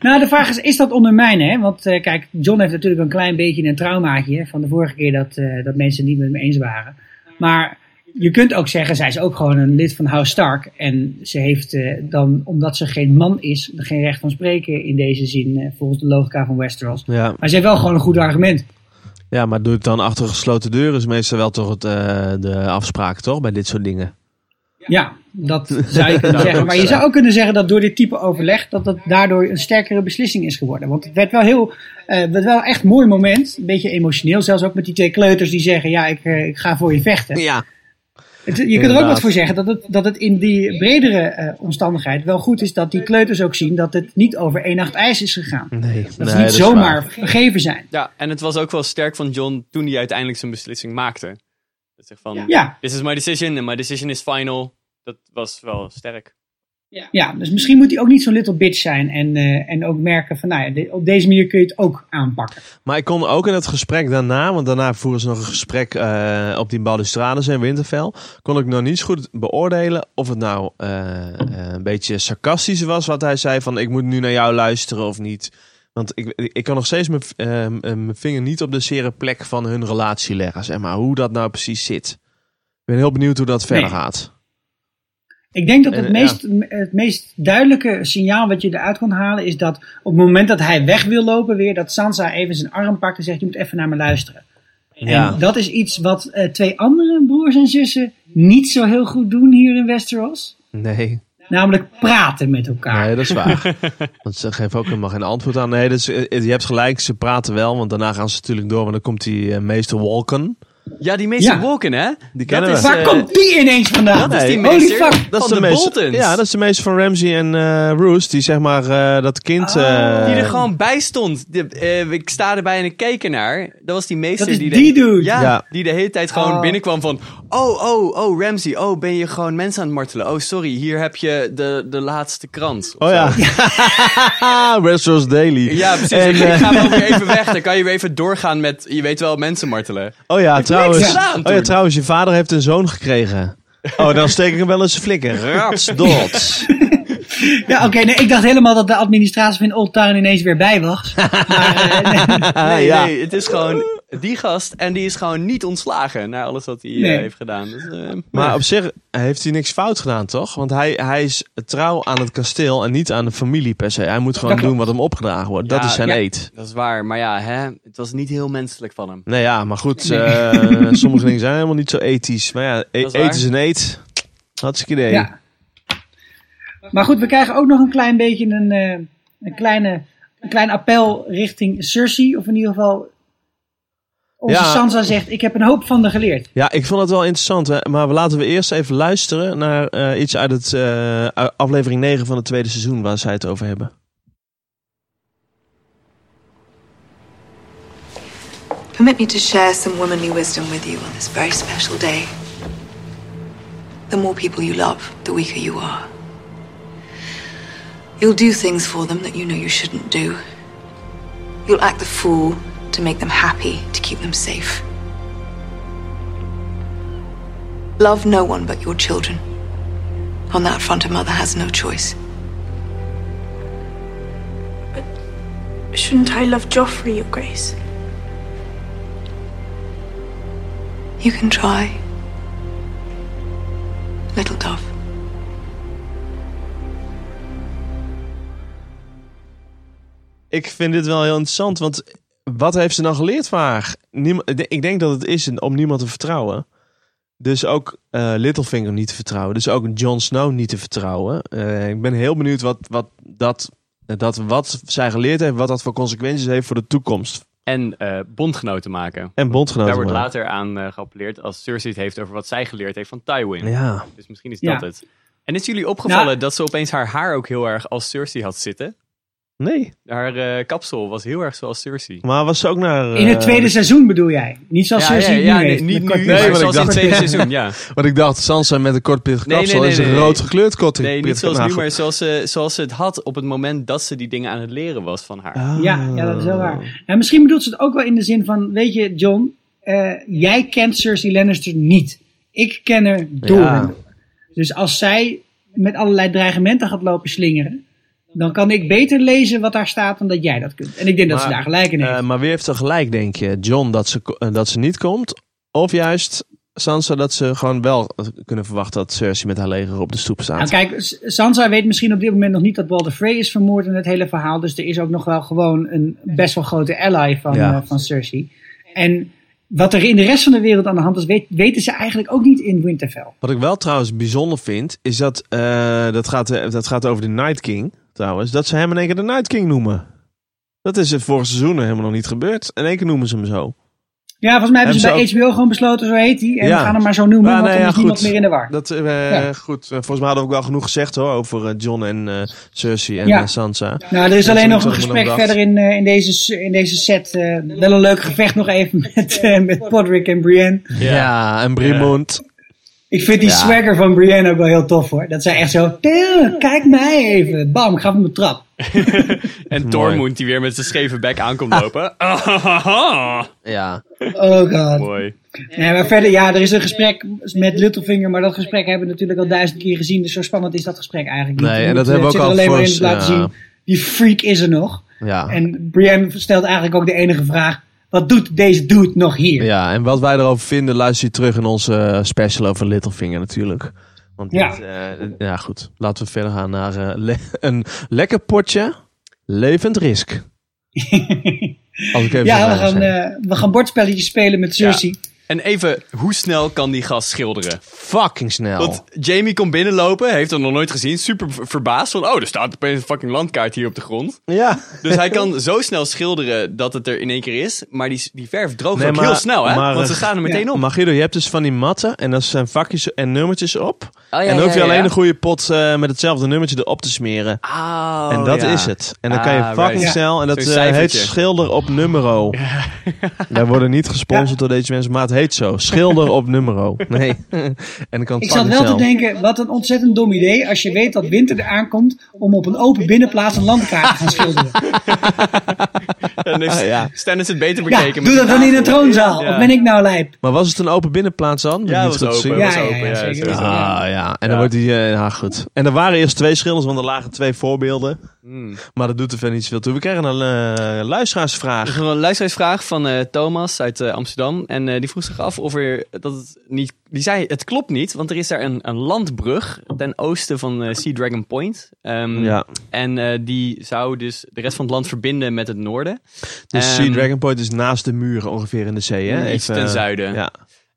Nou, de vraag is, is dat ondermijnen? Hè? Want eh, kijk, John heeft natuurlijk een klein beetje een traumaatje hè, van de vorige keer dat, eh, dat mensen het niet met hem eens waren. Maar je kunt ook zeggen, zij is ook gewoon een lid van House Stark. En ze heeft eh, dan, omdat ze geen man is, geen recht van spreken in deze zin, eh, volgens de logica van Westeros.
Ja.
Maar ze heeft wel gewoon een goed argument.
ja, maar doe ik dan achter gesloten deuren is meestal wel toch het, eh, de afspraak, toch? Bij dit soort dingen.
Ja, dat zou je kunnen zeggen. Maar je zou ook kunnen zeggen dat door dit type overleg, dat dat daardoor een sterkere beslissing is geworden. Want het werd wel heel, eh werd wel echt een mooi moment. Een beetje emotioneel, zelfs ook met die twee kleuters die zeggen, ja, ik, eh, ik ga voor je vechten.
Ja.
Het- je kunt er ook
Inderdaad.
wat voor zeggen dat het, dat het in die bredere eh, omstandigheid wel goed is dat die kleuters ook zien dat het niet over één nacht ijs is gegaan.
Nee,
Dat
nee,
ze niet
is
zomaar
waar.
vergeven zijn.
Ja, en het was ook wel sterk van John toen hij uiteindelijk zijn beslissing maakte. Dat zegt van,
Ja,
this is my decision and my decision is final. Dat was wel sterk.
ja, dus misschien moet hij ook niet zo'n little bitch zijn en, eh, en ook merken van, nou ja, de- op deze manier kun je het ook aanpakken.
Maar ik kon ook in het gesprek daarna, want daarna voeren ze nog een gesprek eh, op die balustrades in Winterfell, kon ik nog niet zo goed beoordelen of het nou eh, eh, een beetje sarcastisch was wat hij zei van ik moet nu naar jou luisteren of niet. Want ik, ik kan nog steeds mijn, v- eh, m- eh, mijn vinger niet op de zere plek van hun relatie leggen, zeg maar, hoe dat nou precies zit. Ik ben heel benieuwd hoe dat verder
Nee.
gaat.
Ik denk dat het,
En, eh,
meest, m- het meest duidelijke signaal wat je eruit kon halen is dat op het moment dat hij weg wil lopen weer, dat Sansa even zijn arm pakt en zegt, je moet even naar me luisteren.
Ja.
En dat is iets wat eh, twee andere broers en zussen niet zo heel goed doen hier in Westeros.
Nee,
Namelijk praten met elkaar.
nee, dat is waar. Want ze geven ook helemaal geen antwoord aan. Nee, dus, eh, je hebt gelijk, ze praten wel, want daarna gaan ze natuurlijk door, want dan komt die eh, meester Walken.
Ja, die meester
Ja.
Walken, hè? Die
kennen
dat
we.
Is,
Waar
eh,
komt die ineens vandaan?
dat is die
Holy
meester
fuck.
van de, Boltons.
Ja, dat is de meester van Ramsey en eh Roos. Die zeg maar eh, dat kind... eh,
Oh, Die er gewoon bij stond. De- eh, ik sta erbij en ik keek ernaar. Dat was die meester
Dat is
die...
die dude.
Ja,
Ja.
die de hele tijd gewoon
Oh.
binnenkwam van... Oh, oh, oh, Ramsey. Oh, ben je gewoon mensen aan het martelen? Oh, sorry, hier heb je de, de laatste krant.
Oh ja. Westeros Daily.
Ja, precies.
En,
ik, ik
eh,
ga wel weer even weg. Dan kan je weer even doorgaan met... Je weet wel, mensen martelen.
oh ja, trouwens.
niks gedaan
Oh ja,
toen.
trouwens. Je vader heeft een zoon gekregen. Oh, dan steek ik hem wel eens een flikker. Ratsdots.
Ja, oké. nee, ik dacht helemaal dat de administratie van Old Town ineens weer bij was. Maar, eh, nee.
Nee,
Ah, ja.
nee, het is gewoon die gast en die is gewoon niet ontslagen na alles wat hij eh,
Nee.
heeft gedaan. Dus, eh,
Maar op zich heeft hij niks fout gedaan, toch? Want hij, hij is trouw aan het kasteel en niet aan de familie per se. Hij moet gewoon
Dat klopt.
doen wat hem opgedragen wordt. dat
Ja,
is zijn
ja.
eet.
dat is waar, maar ja, hè, het was niet heel menselijk van hem.
Nou ja, maar goed. eh, sommige dingen zijn helemaal niet zo ethisch. Maar ja, e
Dat is waar.
eten is een eet. Hartstikke idee.
Ja. Maar goed, we krijgen ook nog een klein beetje een, eh, een, kleine, een klein appel richting Cersei. Of in ieder geval... Onze
Ja.
Sansa zegt, ik heb een hoop van haar geleerd.
Ja, ik vond het wel interessant. Hè? Maar we- laten we eerst even luisteren naar eh, iets uit het, eh, u- aflevering 9 van het tweede seizoen waar zij het over hebben.
Permit me to share some womanly wisdom with you on this very special day. The more people you love, the weaker you are. You'll do things for them that you know you shouldn't do. You'll act the fool to make them happy, to keep them safe. Love no one but your children. On that front, a mother has no choice.
Shouldn't I love Joffrey, Your Grace?
You can try. Little dove.
Ik vind dit wel heel interessant, want wat heeft ze nou geleerd van haar? Niem- ik denk dat het is een- om niemand te vertrouwen. Dus ook eh, Littlefinger niet te vertrouwen. Dus ook Jon Snow niet te vertrouwen. Eh, ik ben heel benieuwd wat, wat, dat, dat wat zij geleerd heeft, wat dat voor consequenties heeft voor de toekomst.
En eh, bondgenoten maken.
En bondgenoten.
Daar wordt
worden.
later aan eh, geappelleerd als Cersei het heeft over wat zij geleerd heeft van Tywin.
Ja.
Dus misschien is
Ja.
dat het. En is jullie opgevallen
Nou-
dat ze opeens haar haar ook heel erg als Cersei had zitten?
Nee.
Haar eh, kapsel was heel erg zoals Cersei.
Maar was ze ook naar...
In het
eh,
tweede seizoen bedoel jij? Niet zoals
ja, ja,
Cersei
ja,
nu
nee,
heeft,
niet
met
nu,
kort
nee,
haar.
maar zoals in het
Kort
tweede
haar.
seizoen, ja.
Want ik dacht, Sansa met een kortpittig
Nee,
kapsel
nee, nee,
is een
nee,
rood
nee.
gekleurd kortpittig
Nee, niet zoals nu,
nagel.
maar zoals ze, zoals ze het had op het moment dat ze die dingen aan het leren was van haar.
Ja, ja, dat is wel waar. En misschien bedoelt ze het ook wel in de zin van, weet je, John, eh, jij kent Cersei Lannister niet. Ik ken haar door
Ja.
en door. Dus als zij met allerlei dreigementen gaat lopen slingeren, dan kan ik beter lezen wat daar staat dan dat jij dat kunt. En ik denk dat ze
Maar,
daar gelijk in heeft.
Eh, maar wie heeft er gelijk, denk je? John dat ze, ko- eh, dat ze niet komt? Of juist Sansa dat ze gewoon wel kunnen verwachten dat Cersei met haar leger op de stoep staat?
Nou, kijk, S- Sansa weet misschien op dit moment nog niet dat Walder Frey is vermoord in het hele verhaal. Dus er is ook nog wel gewoon een best wel grote ally van,
Ja.
eh, van Cersei. En wat er in de rest van de wereld aan de hand is, weet- weten ze eigenlijk ook niet in Winterfell.
Wat ik wel trouwens bijzonder vind, is dat, eh, dat, gaat, eh, dat gaat over de Night King trouwens, dat ze hem in één keer de Night King noemen. Dat is het vorig seizoen helemaal nog niet gebeurd. In één keer noemen ze hem zo.
Ja, volgens mij hebben ze bij
Hebben
HBO gewoon besloten, zo heet hij. En
Ja.
we gaan hem maar zo noemen,
Ah,
want
nee,
dan
ja,
is niemand
goed.
meer in de war.
Dat, eh,
Ja.
Goed, eh, volgens mij hadden we ook wel genoeg gezegd hoor, over eh, John en eh, Cersei en
Ja.
eh, Sansa.
Nou, er is
dat
alleen
is
nog
ook
een
zo
gesprek
bedacht.
verder in, eh, in, deze, s- in deze set. eh, wel een leuk gevecht nog even met, eh, met Podrick en Brienne.
Ja, en Brimond.
Ik vind die
Ja.
swagger van Brienne ook wel heel tof hoor. Dat zij echt zo, "Tja, kijk mij even. Bam, ik gaf hem een trap.
En Tormund die weer met zijn scheve bek aankomt lopen.
Ja.
Oh god.
Mooi.
Nee, maar verder, ja, er is een gesprek met Littlefinger. Maar dat gesprek hebben we natuurlijk al duizend keer gezien. Dus zo spannend is dat gesprek eigenlijk niet.
Nee,
Je
en
moet,
dat hebben we
eh,
ook
het zit
al
er alleen
voor-
maar in laten
ja.
zien. Die freak is er nog.
Ja.
En Brienne stelt eigenlijk ook de enige vraag: wat doet deze dude nog hier?
ja, en wat wij erover vinden, luister je terug in onze eh, special over Littlefinger natuurlijk. Want
Ja.
ja. ja, goed. Laten we verder gaan naar eh, le- een lekker potje levend risk. Als ik even zo
Ja,
mag
we gaan,
zeggen.
eh, we gaan bordspelletjes spelen met Cersei.
En even, hoe snel kan die gast schilderen?
Fucking snel.
Want Jamie komt binnenlopen, heeft dat nog nooit gezien, super ver- verbaasd van, oh, er staat opeens een fucking landkaart hier op de grond.
ja.
Dus hij kan zo snel schilderen dat het er in één keer is, maar die, die verf droogt
Nee,
ook
maar-
heel snel, hè?
maar-
Want ze gaan er meteen
Ja.
op.
Maar Guido, je hebt dus van die matten en daar zijn vakjes en nummertjes op.
Oh, ja,
en dan hoef je
ja, ja.
alleen een goede pot eh, met hetzelfde nummertje erop te smeren.
Ah,
en dat
ja.
is het. En dan kan je
Ah,
fucking
right.
snel. En dat
Zo'n
eh, heet
cijfertje.
schilder op numero. Wij worden niet gesponsord door deze mensen, maar het heet zo. Schilder op numero. Nee. en dan kan het
Ik zat
fucking
wel te
snel.
denken: wat een ontzettend dom idee als je weet dat winter er aankomt om op een open binnenplaats een landkaart te gaan schilderen.
Dan
Ah,
heeft Stennis het beter
Ja,
bekeken.
doe dat dan in een troonzaal.
Ja. Oh,
Of ben ik nou lijp?
Maar was het een open binnenplaats dan?
Ja,
Niet
was
goed te zien.
open.
Ja,
was
ja,
open.
ja,
ja,
zeker.
sowieso.
Ah ja, en dan wordt die. eh, ja, goed. En er waren eerst twee schilders, want er lagen twee voorbeelden.
Hmm.
Maar dat doet er verder niet zoveel toe. We krijgen een eh, luisteraarsvraag.
Er is nog een luisteraarsvraag van eh, Thomas uit eh, Amsterdam. En eh, die vroeg zich af of er. Dat het niet, die zei: Het klopt niet, want er is daar een, een landbrug ten oosten van eh, Sea Dragon Point. Ehm,
Ja.
En eh, die zou dus de rest van het land verbinden met het noorden.
Dus
Ehm, Hmm,
Sea Dragon Point is naast de muren ongeveer in de zee, hè?
Iets ten zuiden.
Ja.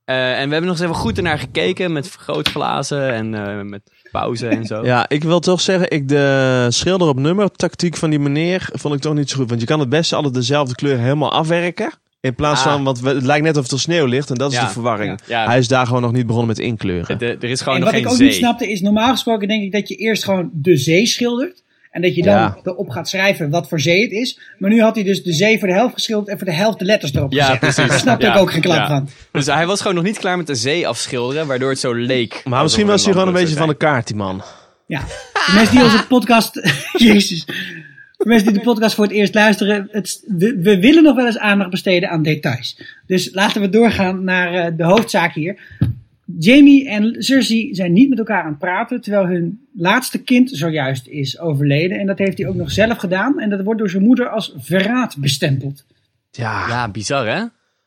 Eh, en we hebben nog eens even goed ernaar gekeken met vergrootglazen en eh, met pauze en zo.
ja, ik wil toch zeggen, ik de schilder op nummer tactiek van die meneer vond ik toch niet zo goed. Want je kan het beste altijd dezelfde kleur helemaal afwerken. In plaats
Ah.
van, want we- het lijkt net of er sneeuw ligt en dat is
Ja.
de verwarring.
Ja.
Hij is daar gewoon nog niet begonnen met inkleuren.
De- er is gewoon
En
nog
wat ik
geen
ook
zee.
niet snapte is: normaal gesproken denk ik dat je eerst gewoon de zee schildert. En dat je dan
Ja.
erop gaat schrijven wat voor zee het is. Maar nu had hij dus de zee voor de helft geschilderd en voor de helft de letters erop
Ja,
gezet.
precies.
Daar snapte
Ja,
ik ook geen klap
ja.
van.
Dus hij was gewoon nog niet klaar met de zee afschilderen, waardoor het zo leek.
Maar misschien was
Alsof
hij
er
gewoon een beetje
landbrug
van
zou
de kaart, die
Ja.
man.
De mensen die onze podcast. Jezus. De mensen die de podcast voor het eerst luisteren. Het, we, we willen nog wel eens aandacht besteden aan details. Dus laten we doorgaan naar eh, de hoofdzaak hier. Jamie en Cersei zijn niet met elkaar aan het praten. Terwijl hun laatste kind zojuist is overleden. En dat heeft hij ook nog zelf gedaan. En dat wordt door zijn moeder als verraad bestempeld.
zijn. Ja, bizar hè?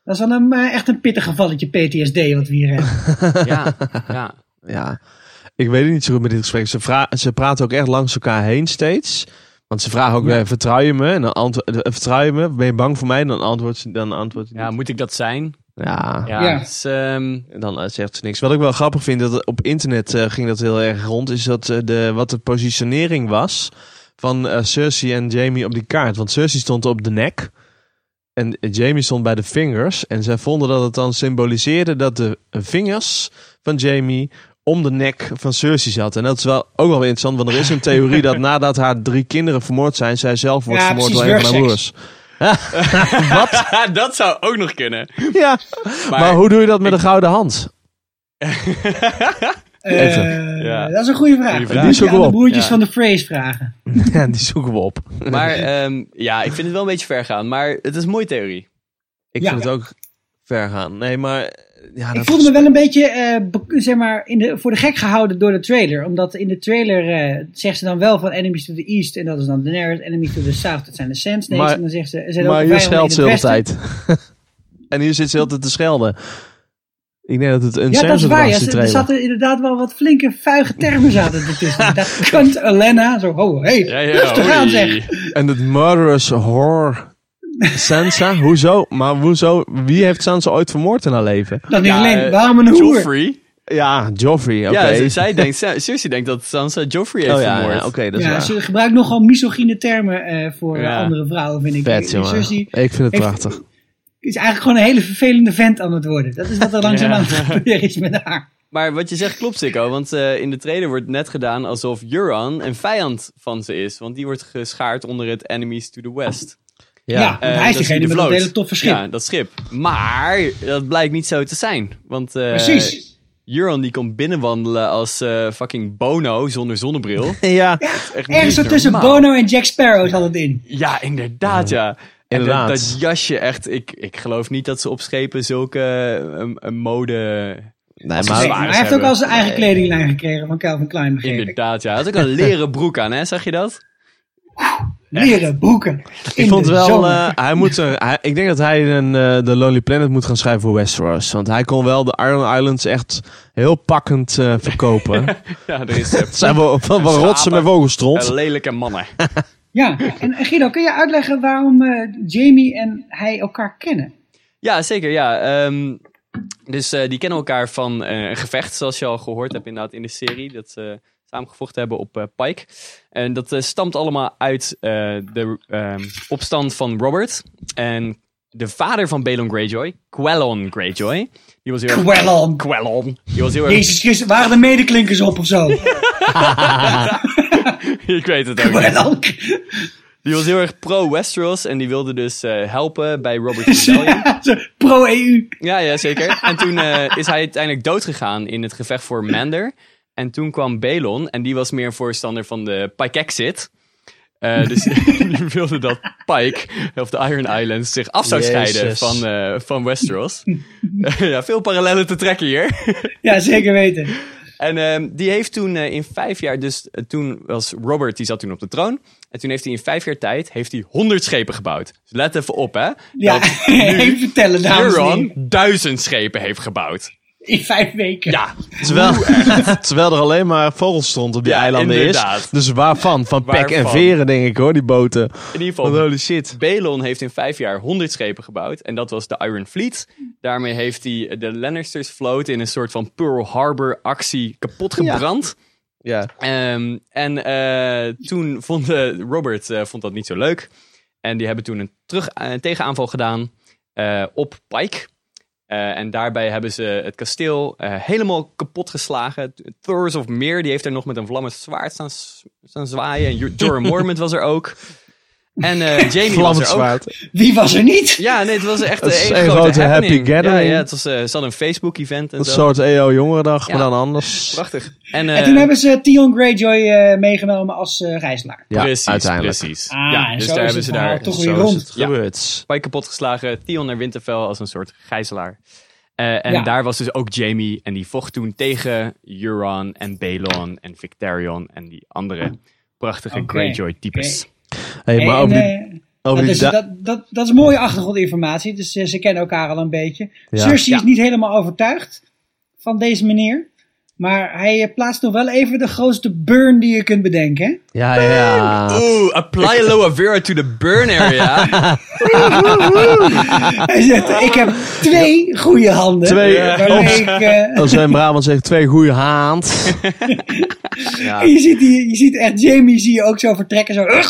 Dat is dan een, eh, echt een pittig gevalletje PTSD wat we hier hebben.
Ja, ja.
Ja, ik weet het niet zo goed met dit gesprek. Ze, vra- ze praten ook echt langs elkaar heen steeds. Want ze vragen ook weer, vertrouw je me? En dan antwo- eh, vertrouw je me? Ben je bang voor mij? En dan antwoordt ze, dan antwoordt hij
ja,
niet.
moet ik dat zijn?
Ja.
Ja.
Ja.
dus, ehm,
En dan eh, zegt ze niks. Wat ik wel grappig vind, dat op internet eh, ging dat heel erg rond, is dat eh, de, wat de positionering was van eh, Cersei en Jamie op die kaart. Want Cersei stond op de nek en eh, Jamie stond bij de vingers. En zij vonden dat het dan symboliseerde dat de vingers van Jamie om de nek van Cersei zat. En dat is wel ook wel weer interessant, want er is een theorie dat nadat haar drie kinderen vermoord zijn, zij zelf wordt
Ja,
vermoord door
precies,
een van haar broers.
wurgseks.
dat zou ook nog kunnen.
Ja, maar, hoe doe je dat met een gouden hand? Even.
Eh,
Ja.
Dat is een goede vraag.
Goeie
Die
vraag.
moet je
Zoeken
aan
we
de
op.
broertjes
Ja.
van de Phrase vragen.
Ja, die zoeken we op.
Maar ehm, ja, ik vind het wel een beetje ver gaan. Maar het is een mooie theorie.
Ik
Ja.
vind het ook ver gaan. Nee, maar... Ja,
Ik
dat
voelde me wel een beetje eh, be- zeg maar, in de, voor de gek gehouden door de trailer. Omdat in de trailer eh, zegt ze dan wel van enemies to the east. En dat is dan Daenerys. Enemies to the south, dat zijn de Sand Snakes.
Maar-
en dan zegt ze, er zijn ook
maar hier
vijanden in
scheldt
het
ze de hele
westen.
tijd. en hier zit ze de hele tijd te schelden. Ik denk dat het een
Ja, dat is
sensor
waar.
was,
Ja,
die
ze- er
trailer.
zaten inderdaad wel wat flinke vuige termen zaten ertussen. dat kunt Elena. Zo, oh, hey,
Ja, ja,
rustig aan
oei.
zeg.
En het murderous horror... Sansa? Hoezo? Maar hoezo? Wie heeft Sansa ooit vermoord in haar leven?
Dan niet
Ja,
alleen,
eh,
waarom een hoer?
Joffrey.
Ja, Joffrey, oké.
Ja, ze- zij denkt, Sa- Cersei denkt dat Sansa Joffrey heeft
Oh ja,
vermoord.
ja, oké, dat is
Ja,
waar.
ze gebruikt nogal misogyne termen eh, voor eh,
Ja.
andere vrouwen, vind ik.
Vet,
En
jongen.
Cersei
Ik vind het
heeft-
prachtig.
is eigenlijk gewoon een hele vervelende vent aan het worden. Dat is wat er langzaam aan het gebeuren is met haar.
Maar wat je zegt klopt, Sikko. Want eh, in de trailer wordt net gedaan alsof Euron een vijand van ze is. Want die wordt geschaard onder het Enemies to the West.
Ja, want
Eh,
hij is
dat
degene
de
met dat
vloot.
hele toffe schip.
Ja, eh, dat schip. Maar dat blijkt niet zo te zijn. Want eh
Precies.
Euron die komt binnenwandelen als eh, fucking Bono zonder zonnebril.
Ja,
Echt niet
Ergens zo tussen
normaal.
Bono en Jack Sparrow zat het in.
Ja, inderdaad, ja. En
Inderdaad.
Dat, dat jasje, echt. Ik, ik geloof niet dat ze op schepen zulke eh, een, een mode.
nee,
ze
Nee,
maar...
zwaar
maar hij
ze
heeft ook
hebben.
al zijn eigen kledinglijn gekregen van Calvin Klein, begreep ik.
Inderdaad, ja. Hij had ook een leren broek aan, hè? Zag je dat?
Leren, broeken.
Ik
in
vond
de
wel,
zomer.
eh, hij moet er, hij- ik denk dat hij een, eh, de Lonely Planet moet gaan schrijven voor Westeros. Want hij kon wel de Iron Islands echt heel pakkend eh, verkopen.
Ja, er is eh,
Het zijn wel, wel, wel rotsen met
eh,
vogelstront.
lelijke mannen.
Ja, en eh, Guido, kun je uitleggen waarom eh, Jamie en hij elkaar kennen?
Ja, zeker, ja. Ehm, dus eh, die kennen elkaar van eh, een gevecht, zoals je al gehoord hebt inderdaad in de serie. Dat ze samen gevochten hebben op eh, Pike. En dat eh, stamt allemaal uit eh, de ehm, opstand van Robert. En de vader van Balon Greyjoy, Quellon Greyjoy. Die was heel erg...
Quellon.
Quellon. Die was heel erg...
oh, Jezus Christus, waren er medeklinkers op of zo?
Ik weet het ook niet.
Quellon.
Die was heel erg pro-Westeros en die wilde dus eh, helpen bij Robert's Rebellion.
Pro-EU.
Ja, ja, zeker. En toen eh, is hij uiteindelijk doodgegaan in het gevecht voor Mander. En toen kwam Belon en die was meer een voorstander van de Pike Exit. Eh, dus die wilde dat Pike, of de Iron Islands, zich af zou scheiden
Jezus.
van, eh, van Westeros. ja, veel parallellen te trekken hier.
Ja, zeker weten.
En ehm, die heeft toen eh, in vijf jaar, dus eh, toen was Robert, die zat toen op de troon. En toen heeft hij in vijf jaar tijd, heeft hij honderd schepen gebouwd. Dus let even op, hè.
Ja, even vertellen, dames en
Euron
heren.
duizend schepen heeft gebouwd.
In vijf weken.
Ja,
Terwijl, terwijl er alleen maar vogelstront op die
Ja,
eilanden
inderdaad.
is. Dus waarvan? Van pek en
Waarvan? Oh,
veren, denk ik hoor, die boten.
in ieder
Want
geval...
holy shit.
Belon heeft in vijf jaar 100 schepen gebouwd. En dat was de Iron Fleet. Daarmee heeft hij de Lannisters vloot in een soort van Pearl Harbor actie kapot gebrand.
Ja.
Ehm, en eh, toen vond eh, Robert eh, vond dat niet zo leuk. En die hebben toen een, terug, eh, een tegenaanval gedaan eh, op Pike. Eh, en daarbij hebben ze het kasteel eh, helemaal kapot geslagen. Thors of Meer die heeft er nog met een vlammend zwaard staan, s- staan zwaaien. En Jor- Jorah Mormont was er ook. En eh Jamie was
Vlammend
er ook.
zwaard.
Wie was er niet?
Ja, nee, het was echt
Het
een,
is
één
een
grote,
grote happy
happening. Ja,
gathering.
ja, het was, eh, ze hadden een Facebook-event en
Een
zo.
soort EO jongerendag,
Ja.
maar dan anders.
Prachtig. En,
En
eh,
toen hebben ze Tion Greyjoy eh, meegenomen als eh reislaar.
Ja,
precies,
uiteindelijk.
precies.
Ah,
ja,
en
dus
zo
daar
is
hebben
het
ze
verhaal
daar
toch
Zo
weer
is
rond.
het gebeurd.
Pike kapotgeslagen, Tion naar Winterfell als een soort gijzelaar. Eh, en
Ja.
daar was dus ook Jamie en die vocht toen tegen Euron en Balon en Victarion en die andere prachtige
Oké.
Greyjoy-types.
Hey, maar
En,
over die,
eh,
over
dat,
die
is,
da-
dat, dat, dat is mooie achtergrondinformatie. Dus eh, ze kennen elkaar al een beetje.
Ja.
Cersei is
Ja.
niet helemaal overtuigd van deze meneer. Maar hij eh, plaatst nog wel even de grootste burn die je kunt bedenken. hè?
Ja, ja, ja.
Oeh, apply aloe vera to the burn area.
Hij zegt, ik heb twee goede handen.
Twee,
waarmee
ops.
ik, eh,
Als wij in Brabant zeggen, twee goede haand.
je, ziet die, je ziet echt Jamie zie je ook zo vertrekken. Zo, ugh.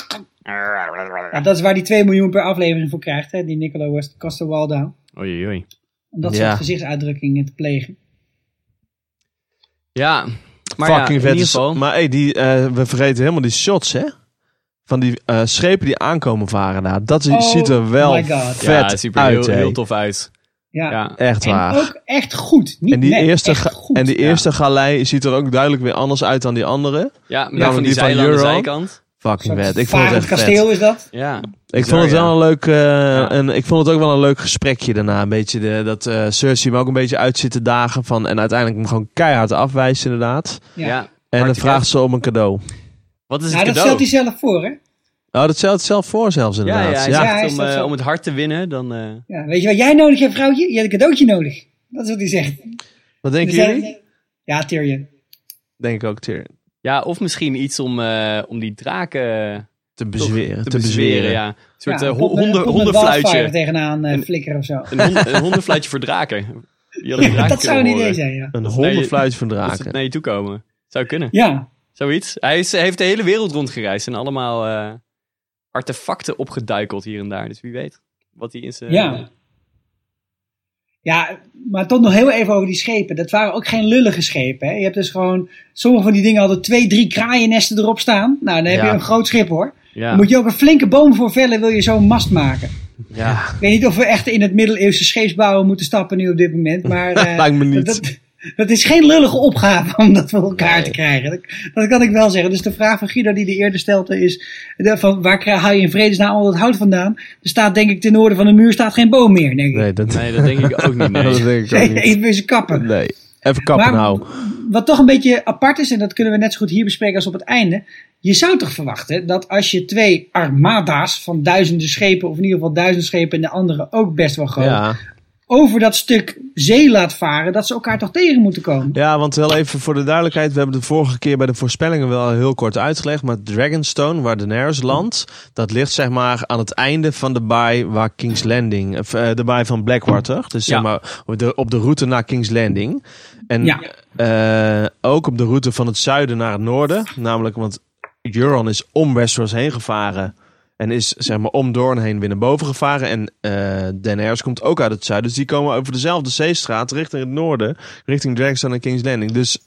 Ja, dat is waar die 2 miljoen per aflevering voor krijgt. Hè, die Nicola West Costa Waldau.
oei, oei.
Om dat
Ja.
soort gezichtsuitdrukkingen te plegen.
Ja, maar ja,
Fucking
in
vet.
ieder
is-
geval.
Maar hey, die, eh, we vergeten helemaal die shots, hè? Van die eh, schepen die aankomen varen daar. Dat
Oh
ziet er wel
my God.
vet
ja, het ziet er
uit,
heel,
hè?
heel tof uit.
Ja.
Ja.
Echt
En
waar.
ook echt goed. Niet
En die,
net,
eerste,
echt
ga-
goed.
en die
Ja.
eerste galei ziet er ook duidelijk weer anders uit dan die andere.
Ja, met
Ja, want
van die,
die van
zeilen aan de
Euro.
zijkant.
Fucking
Een
vet.
soort
Ik vond het
varend
echt
kasteel
vet.
is dat.
Ja,
Ik
Bizar,
vond het
ja.
wel een leuk... eh, en ik vond het ook wel een leuk gesprekje daarna. Een beetje de, dat eh Cersei hem ook een beetje uit zit te dagen. Van, en uiteindelijk hem gewoon keihard afwijst inderdaad.
Ja.
Ja.
En dan
Hartje
vraagt
vet.
ze om een cadeau.
Wat is
Nou,
het
dat stelt hij
cadeau?
zelf voor, hè?
Oh, dat stelt het zelf voor zelfs
Ja,
inderdaad.
ja, hij
Ja,
zegt
hij
om,
stelt
eh,
zelf-
om het hart te winnen, dan... eh,
Ja, weet je wat jij nodig hebt, vrouwtje? Je hebt een cadeautje nodig. Dat is wat hij zegt.
Wat denken
Dus hij-
jullie?
Ja, Tyrion.
Denk ik ook Tyrion.
Ja, of misschien iets om, eh, om die draken
Te
toch
bezweren.
te bezweren. Ja. Een soort
Ja,
eh,
een
ho-
pot met-
honden,
een pot met wildfire
hondenfluitje.
tegenaan eh, flikkeren of zo.
Een, hond- een hondenfluitje voor draken. Die hadden draken
dat zou een
kunnen
idee
horen.
zijn, ja.
Een
naar je-
hondenfluit van
Dat ze
draken.
naar je toe komen. Zou kunnen.
Ja,
Zoiets. Hij is, hij heeft de hele wereld rondgereisd en allemaal eh, artefacten opgeduikeld hier en daar. Dus wie weet wat hij in zijn...
ja. eh, Ja, maar toch nog heel even over die schepen. Dat waren ook geen lullige schepen. Hè? Je hebt dus gewoon... Sommige van die dingen hadden twee, drie kraaiennesten erop staan. Nou, dan heb
Ja.
je een groot schip, hoor.
Ja.
Dan moet je ook een flinke boom voor vellen, wil je zo'n mast maken.
Ja.
Ik weet niet of we echt in het middeleeuwse scheepsbouwen moeten stappen nu op dit moment. Maar eh,
Lijkt me niet.
Dat, dat is geen lullige opgave om dat voor elkaar te krijgen. Dat, dat kan ik wel zeggen. Dus de vraag van Guido die de eerder stelde is... De, van, waar krijg- haal je in vredesnaam al dat hout vandaan? Er staat denk ik ten noorden van de muur staat geen boom meer, denk ik.
Nee, dat,
Nee, dat denk ik ook niet. nee.
dat denk ik ook niet.
Even eens kappen.
Nee. Even kappen
Maar-
nou.
Wat toch een beetje apart is, en dat kunnen we net zo goed hier bespreken als op het einde. Je zou toch verwachten dat als je twee armada's van duizenden schepen, of in ieder geval duizend schepen en de andere ook best wel groot,
Ja.
over dat stuk zee laat varen, dat ze elkaar toch tegen moeten komen.
ja, want wel even voor de duidelijkheid. We hebben de vorige keer bij de voorspellingen wel heel kort uitgelegd. Maar Dragonstone, waar Daenerys landt, dat ligt zeg maar aan het einde van de baai waar King's Landing, of, eh, de baai van Blackwater. Dus
Ja.
zeg maar op de, op de route naar King's Landing. En
Ja.
eh, ook op de route van het zuiden naar het noorden. Namelijk, want Euron is om Westeros heen gevaren. En is zeg maar om Doorn heen weer naar boven gevaren. En eh Daenerys komt ook uit het zuiden. Dus die komen over dezelfde zeestraat richting het noorden. Richting Dragonstone en King's Landing. Dus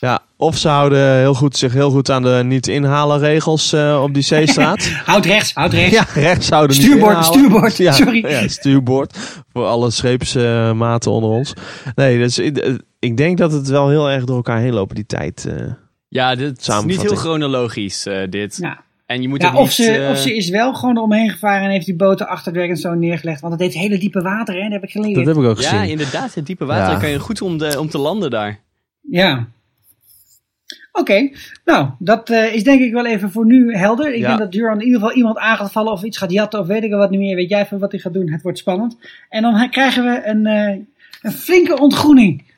ja, of ze houden heel goed, zich heel goed aan de niet inhalen regels eh, op die zeestraat.
Houd rechts, houd rechts.
ja, rechts houden niet
Stuurboord,
inhalen.
stuurboord,
Ja,
sorry.
Ja, stuurboord. Voor alle scheepsmaten onder ons. Nee, dus ik- eh, ik denk dat het wel heel erg door elkaar heen lopen die tijd. eh.
Ja, dit is niet
Samenvatting.
heel chronologisch, eh, dit.
Ja.
En je moet
Ja,
ook
of,
niet,
ze,
eh,
of ze is wel gewoon eromheen gevaren en heeft die boten achter Dragonstone neergelegd. Want dat heeft hele diepe water, hè? dat heb ik geleerd.
Dat heb ik ook
Ja,
gezien.
inderdaad. Het diepe water
Ja.
kan je goed om, de, om te landen daar.
Ja. Oké, nou, dat eh, is denk ik wel even voor nu helder. Ik
Ja.
denk dat Duran in ieder geval iemand aan gaat vallen of iets gaat jatten of weet ik wat niet meer. Weet jij van wat hij gaat doen? Het wordt spannend. En dan he- krijgen we een, eh, een flinke ontgroening.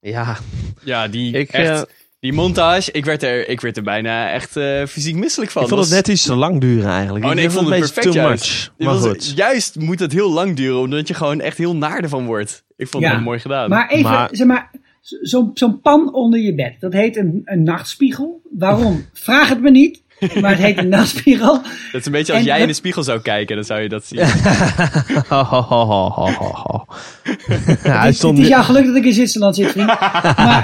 Ja,
Ja, die,
Ik,
echt,
eh,
die montage, ik werd, er, ik werd er bijna echt eh, fysiek misselijk van.
ik vond het
Dat
net iets te lang duren eigenlijk.
was- Oh nee, ik vond het
een beetje
perfect
too
juist.
much.
Dit
Maar
was-
goed.
Juist moet het heel lang duren, omdat je gewoon echt heel naar ervan wordt. Ik vond
Ja.
het mooi gedaan.
Maar even,
Maar-
zeg maar, zo- zo'n zo'n pan onder je bed. Dat heet een, een nachtspiegel. Waarom? Vraag het me niet. Maar het heet een nachtspiegel.
Dat is een beetje als
En
jij in
dat-
de spiegel zou kijken, dan zou je dat zien.
Ho, ho, ho, ho, ho, ho, ho. Ja, hij
Het-
stond
het is
niet-
jouw geluk dat ik in Zwitserland zit, vriend. maar,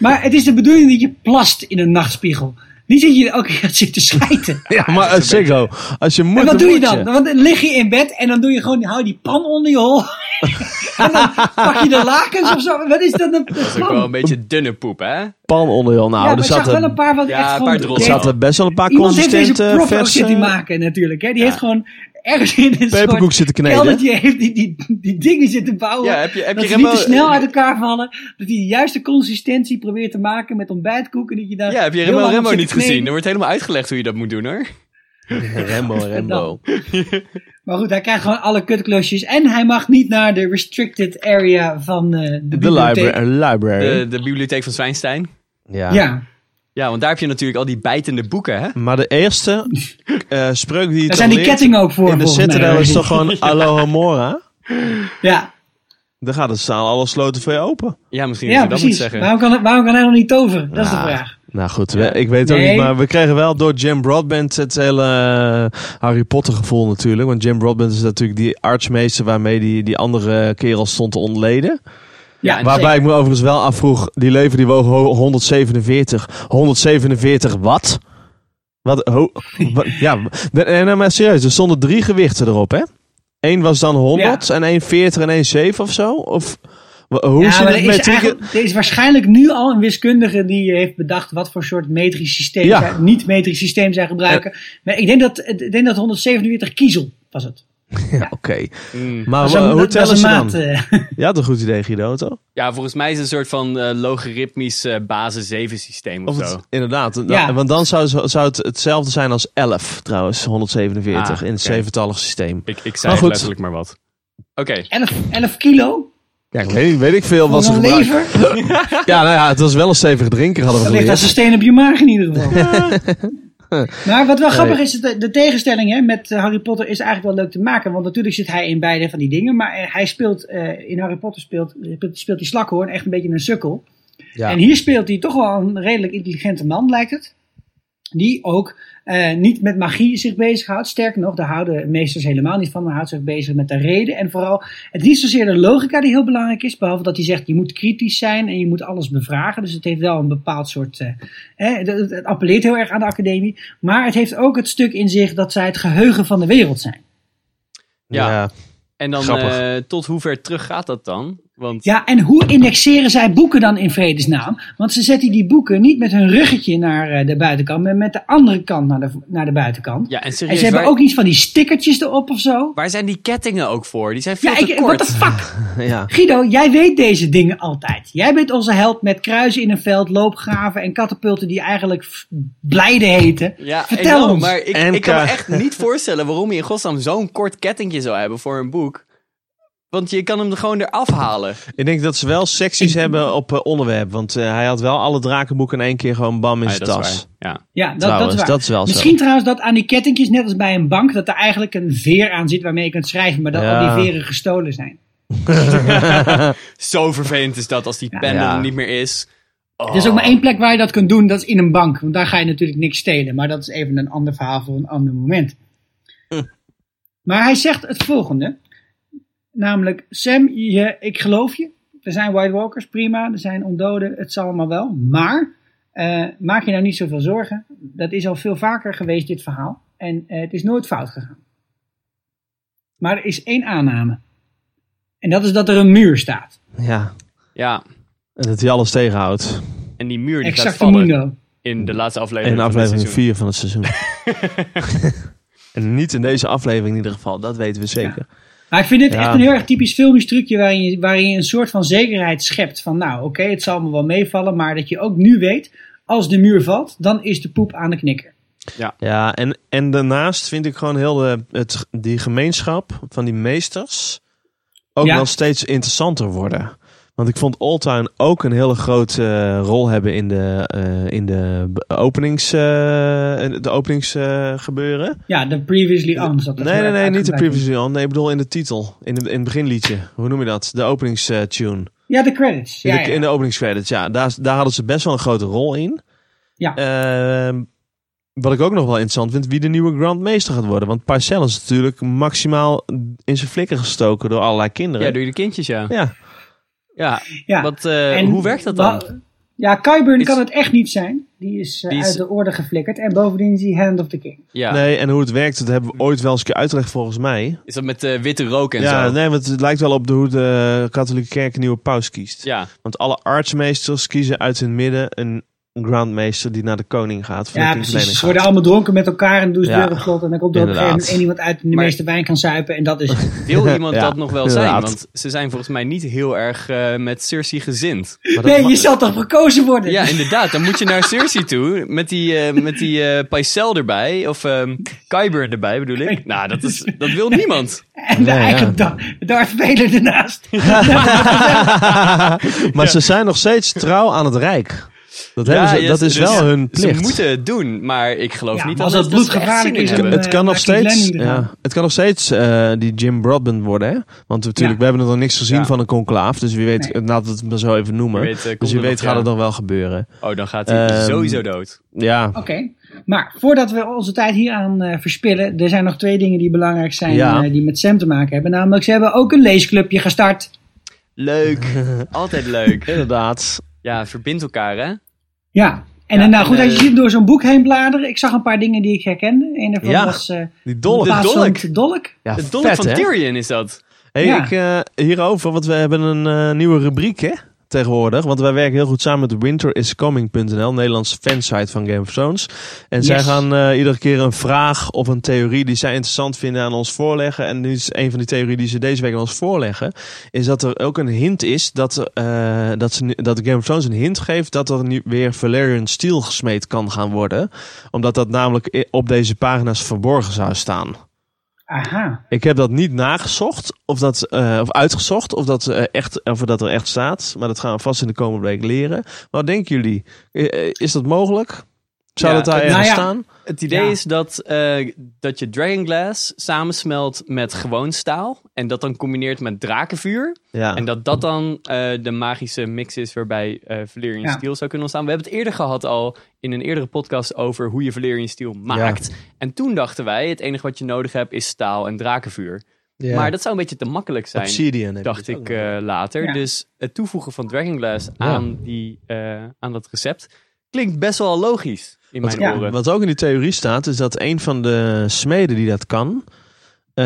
maar het is de bedoeling dat je plast in een nachtspiegel. Niet dat je elke keer gaat zitten schijten.
Ja, maar eh, Ziggo, als je moet...
En wat doe je
moet
dan? Want dan lig je in bed en dan doe je gewoon, hou die pan onder je hol. en dan pak je de lakens of zo. Wat is dat een
Dat is ook wel een beetje dunne poep, hè?
Pan onder je nou,
Ja, maar
er
ik zag
zat
wel
er,
een paar wat
Ja,
echt
een
gewoon...
paar droppels.
Nee,
zat er best wel een paar
Iemand heeft deze
consistente eh,
prof ook zitten
verse...
maken natuurlijk. Hè? Die heeft gewoon ergens in een
Peperkoek
soort
zitten kneden.
keldertje heeft die, die, die dingen zitten bouwen.
Ja, heb je- heb
dat
je
ze niet te
helemaal-
snel uit elkaar vallen. Dat hij de juiste consistentie probeert te maken met ontbijtkoek. En dat je daar
Ja, heb je
heel
Remo
lang op
Remo
zit te
niet gezien? Er
kneden.
wordt helemaal uitgelegd hoe je dat moet doen, hoor.
Rembo,
Nou,
Rembo.
Maar goed, hij krijgt gewoon alle kutklusjes. En hij mag niet naar de restricted area van eh, de
De
bibliotheek.
libra- library.
De, de bibliotheek van Zwijnstein.
Ja.
Ja,
Ja, want daar heb je natuurlijk al die bijtende boeken, hè?
Maar de eerste eh, spreuk die
daar
je toch
zijn die
leert
kettingen ook voor
in de
volgens mij.
Citadel is toch gewoon Alohomora?
Ja,
Dan gaat het staan, alle sloten voor je open.
Ja, misschien dat
ja
je dat moet
precies.
zeggen.
Waarom kan, waarom kan hij nog niet toveren? Dat is de
Ja.
vraag.
Nou goed, we- ik weet ook
Nee.
niet, maar we kregen wel door Jim Broadbent het hele eh, Harry Potter gevoel natuurlijk. Want Jim Broadbent is natuurlijk die artsmeester waarmee die, die andere kerel stond te ontleden.
Ja,
Waarbij ik me overigens wel afvroeg, die lever die woog ho- 147. 147 wat? Wat? Ho, wa- ja, de- nee, nee, maar serieus, er stonden drie gewichten erop, hè? Eén was dan 100 en één 40 en één 7 of zo? Of wa- hoe
Ja,
zit
maar
het
er is,
met die...
eigenlijk- er is waarschijnlijk nu al een wiskundige die heeft bedacht wat voor soort metrisch systeem,
Ja.
zij- niet-metrisch systeem zij gebruiken. Maar ik denk dat, ik denk dat 147 kiezel was het.
Ja, oké.
Mm.
Maar
Dat
wa-
was een-
hoe
dat
tellen
was
ze
een
dan?
maat, eh,
Je had een goed idee, Guido, toch?
Ja, volgens mij is het een soort van eh, logaritmisch eh basis 7 systeem of,
Of
zo.
het, inderdaad. dan-
Ja.
Want dan zou, zou het hetzelfde zijn als 11, trouwens, 147
Ah,
in het
oké.
zeventallig systeem.
Ik, ik
Maar
zei
goed.
letterlijk maar wat. Oké.
11, 11 kilo
Ja, ik weet, weet ik veel wat
van
ze
een
gebruiken.
lever.
Ja, nou ja, het was wel een stevige drinker, hadden we
Dat ligt als
geleerd.
een steen op je maag in ieder geval. maar wat wel grappig is, de, de tegenstelling hè, met eh, Harry Potter is eigenlijk wel leuk te maken. Want natuurlijk zit hij in beide van die dingen. Maar eh, hij speelt, eh, in Harry Potter speelt, speelt die slakhoorn echt een beetje een sukkel.
Ja.
En hier speelt hij toch wel een redelijk intelligente man, lijkt het. Die ook eh, niet met magie zich bezighoudt. Sterker nog, daar houden meesters helemaal niet van. Maar houdt zich bezig met de reden. En vooral, het is niet zozeer de logica die heel belangrijk is. Behalve dat hij zegt, je moet kritisch zijn en je moet alles bevragen. Dus het heeft wel een bepaald soort... eh, hè, het- het, het appelleert heel erg aan de academie. Maar het heeft ook het stuk in zich dat zij het geheugen van de wereld zijn.
Ja.
Ja.
En dan
Grappig.
eh, tot hoe ver terug gaat dat dan? Want
Ja, en hoe indexeren zij boeken dan in vredesnaam? Want ze zetten die boeken niet met hun ruggetje naar eh, de buitenkant, maar met de andere kant naar de, naar de buitenkant.
Ja, en serieus,
en ze hebben
waar,
ook iets van die stickertjes erop of zo.
waar zijn die kettingen ook voor? Die zijn veel
Ja,
te
ik, what
kort.
the fuck?
Ja.
Guido, jij weet deze dingen altijd. Jij bent onze held met kruisen in een veld, loopgraven en katapulten die eigenlijk f- blijden heten.
Ja,
Vertel
I know,
ons.
maar ik,
En
ik kan me
ka-
echt niet voorstellen waarom je in godsnaam zo'n kort kettingje zou hebben voor een boek. Want je kan hem er gewoon eraf halen.
Ik denk dat ze wel secties hebben op eh, onderwerp. Want eh, hij had wel alle drakenboeken in één keer gewoon bam in
Ah,
zijn
ja, dat is
tas.
waar. Ja.
Ja, Dus dat, dat
Trouwens,
is waar.
dat is wel zo.
Misschien trouwens dat aan die kettingjes, net als bij een bank, dat er eigenlijk een veer aan zit waarmee je kunt schrijven, maar dat
Ja.
al die veren gestolen zijn.
Zo vervelend is dat als die pen
Ja.
er niet meer is. Oh.
Er is ook maar één plek waar je dat kunt doen, dat is in een bank. Want daar ga je natuurlijk niks stelen. Maar dat is even een ander verhaal voor een ander moment.
Hm.
Maar hij zegt het volgende. Namelijk, Sam, je, ik geloof je. Er zijn White Walkers, prima. Er zijn ondoden, het zal allemaal wel. Maar, eh, maak je nou niet zoveel zorgen. Dat is al veel vaker geweest, dit verhaal. En eh, het is nooit fout gegaan. Maar er is één aanname. En dat is dat er een muur staat.
Ja.
Ja,
En dat hij alles tegenhoudt.
en die muur die gaat
Exact
vallen
Mingo.
in de laatste aflevering
In
van dit
aflevering
seizoen.
4 van het seizoen. en niet in deze aflevering in ieder geval. Dat weten we zeker.
Maar ik vind dit
Ja.
echt een heel erg typisch filmisch trucje waarin je, waarin je een soort van zekerheid schept. Van nou, oké, het zal me wel meevallen, maar dat je ook nu weet, als de muur valt, dan is de poep aan de knikker.
Ja, en, en daarnaast vind ik gewoon heel de, het, die gemeenschap van die meesters ook
Ja.
wel steeds interessanter worden. Want ik vond Alltime ook een hele grote eh, rol hebben in de, eh, in de b- openings, eh, de openings eh, gebeuren.
Ja, de previously on. zat er
Nee,
heel
nee,
erg
nee, niet de
uitgebreid in.
previously on. Nee, ik bedoel in de titel. In, de, in het beginliedje. Hoe noem je dat? De openingstune.
Ja, de credits.
In,
Ja,
de,
ja.
in de openingscredits, ja. Daar, daar hadden ze best wel een grote rol in.
Ja.
Ehm, wat ik ook nog wel interessant vind, wie de nieuwe Grandmeester gaat worden. Want Parcel is natuurlijk maximaal in zijn flikken gestoken door allerlei kinderen.
Ja, door de kindjes, ja.
Ja.
Ja,
Ja.
Wat, eh,
En
hoe werkt dat dan?
wa- Ja, Kyburn
Is-
kan het echt niet zijn. Die is, eh,
Die is-
uit de orde geflikkerd. En bovendien is hij Hand of the King.
ja.
Nee, en hoe het werkt, dat hebben we ooit wel eens een keer uitgelegd volgens mij.
Is dat met eh, witte rook en
ja,
zo?
nee, want het lijkt wel op de, hoe de katholieke kerk een nieuwe paus kiest.
Ja,
Want alle artsmeesters kiezen uit hun midden een grandmeester die naar de koning gaat. Van
Ja,
de
precies.
kingverlening
Ze worden allemaal dronken met elkaar en doen ze
Ja.
deuren vlot. En dan komt er op een gegeven moment
Inderdaad.
één iemand uit die de
Maar-
meeste wijn kan zuipen. En dat is het.
wil iemand
Ja,
dat nog wel zijn?
inderdaad.
Want ze zijn volgens mij niet heel erg eh, met Cersei gezind.
gaat. Maar dat
Nee,
ma-
je zal toch verkozen worden?
Ja, inderdaad. Dan moet je naar Cersei toe met die, eh, met die eh, Pycelle erbij. Of ehm Kyburn erbij, bedoel ik. Nou, dat, is, dat wil niemand.
En de
ja.
eigenlijk dan Darth Vader ernaast.
maar ze zijn nog steeds trouw aan het Rijk. Dat,
Ja,
hebben ze,
yes,
dat is
dus
wel hun
Ze
plicht.
moeten het doen, maar ik geloof
Ja,
niet
maar
dat
als
ze
dat
dat ze echt
bloedgevaarlijk
zin in
is,
hebben.
dan-
het kan nog
Maakt die
steeds,
planning eraan.
ja, het kan nog steeds eh, die Jim Broadbent worden. Hè? Want natuurlijk,
Ja.
we hebben nog nog niks gezien
Ja.
van een conclaaf. Dus wie weet,
Nee.
eh, laten we het maar zo even noemen.
Wie weet, eh, komt
dus wie
er
weet
nog,
gaat
ja.
het dan wel gebeuren.
Oh, dan gaat hij
Ehm,
sowieso dood.
Ja,
Oké, maar voordat we onze tijd hieraan eh verspillen, er zijn nog twee dingen die belangrijk zijn
Ja.
eh, die met Sam te maken hebben. Namelijk, ze hebben ook een leesclubje gestart.
Leuk. Altijd leuk.
Inderdaad.
Ja, verbindt elkaar, hè?
Ja. En
Ja,
dan, nou
en,
goed, als
eh,
je ziet door zo'n boek heen bladeren, ik zag een paar dingen die ik herkende. Een daarvan
Ja.
was eh
Die dolk.
De dolk.
De dolk.
Ja,
De dolk
vet,
van
hè?
Tyrion is dat.
Hey,
Ja.
ik, eh, hierover, want we hebben een eh, nieuwe rubriek hè, tegenwoordig. Want wij werken heel goed samen met winteriscoming.nl, Nederlands fansite van Game of Thrones. En zij
Yes.
gaan eh, iedere keer een vraag of een theorie die zij interessant vinden aan ons voorleggen. En nu is een van die theorieën die ze deze week aan ons voorleggen, is dat er ook een hint is dat, er, eh, dat, ze, nu- dat Game of Thrones een hint geeft dat er nu weer Valerian Steel gesmeed kan gaan worden. Omdat dat namelijk i- op deze pagina's verborgen zou staan.
Aha.
Ik heb dat niet nagezocht of, dat, eh, of uitgezocht of dat, eh, echt, of dat er echt staat. Maar dat gaan we vast in de komende week leren. Maar wat denken jullie? Eh, eh, Is dat mogelijk? Zou
Ja,
dat daar
nou
ergens
ja.
staan?
Het idee
Ja.
is dat, eh, dat je Dragonglass samensmelt met gewoon staal. En dat dan combineert met drakenvuur.
Ja.
En dat dat dan eh, de magische mix is waarbij eh Valerian
Ja.
Steel zou kunnen ontstaan. We hebben het eerder gehad al in een eerdere podcast over hoe je Valerian Steel maakt. En toen dachten wij, het enige wat je nodig hebt is staal en drakenvuur. Maar dat zou een beetje te makkelijk zijn,
Obsidian heb je
dacht
dus
ik
ook
eh,
nog.
later.
Ja.
Dus het toevoegen van Dragonglass aan, die, eh, aan dat recept klinkt best wel logisch in
Wat-
mijn
ja.
oren.
Wat ook in die theorie staat, is dat een van de smeden die dat kan... eh,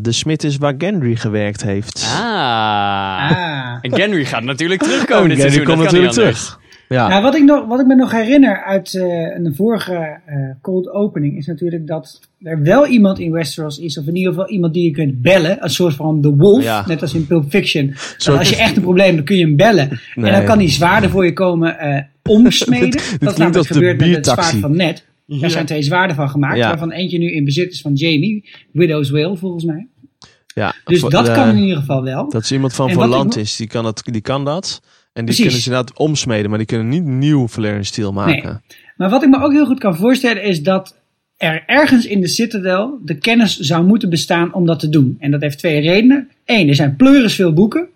de smid is waar Gendry gewerkt heeft. Oh,
Oh, Ah.
Ah.
En Genry gaat natuurlijk terugkomen dit
Gendry
seizoen.
komt
dat kan
natuurlijk
niet anders.
terug. Ja.
Nou, wat, ik nog, wat ik me nog herinner uit eh, een vorige eh, cold opening is natuurlijk dat er wel iemand in Westeros is, of in ieder geval iemand die je kunt bellen, een soort van de wolf,
Ja.
net als in Pulp Fiction.
Soort-
Dat als je echt een probleem hebt, dan kun je hem bellen.
Nee.
En dan kan hij zwaarden voor je komen eh omsmeden. dat is
klinkt als
namelijk
de
gebeurd met het
biertaxi.
zwaard van net. Daar zijn twee zwaarden van gemaakt,
Ja.
waarvan eentje nu in bezit is van Jamie, Widow's Will volgens mij.
Ja.
Dus
Voor-
dat
eh,
kan in ieder geval wel.
Dat is iemand van
En
Van
wat ik
Land
nog-
is, die kan, dat, die kan dat. En die
Precies.
kunnen ze inderdaad omsmeden, maar die kunnen niet nieuw Valerian Steel maken.
Maar wat ik me ook heel goed kan voorstellen is dat er ergens in de Citadel de kennis zou moeten bestaan om dat te doen. En dat heeft twee redenen. Eén, er zijn pleuris veel boeken.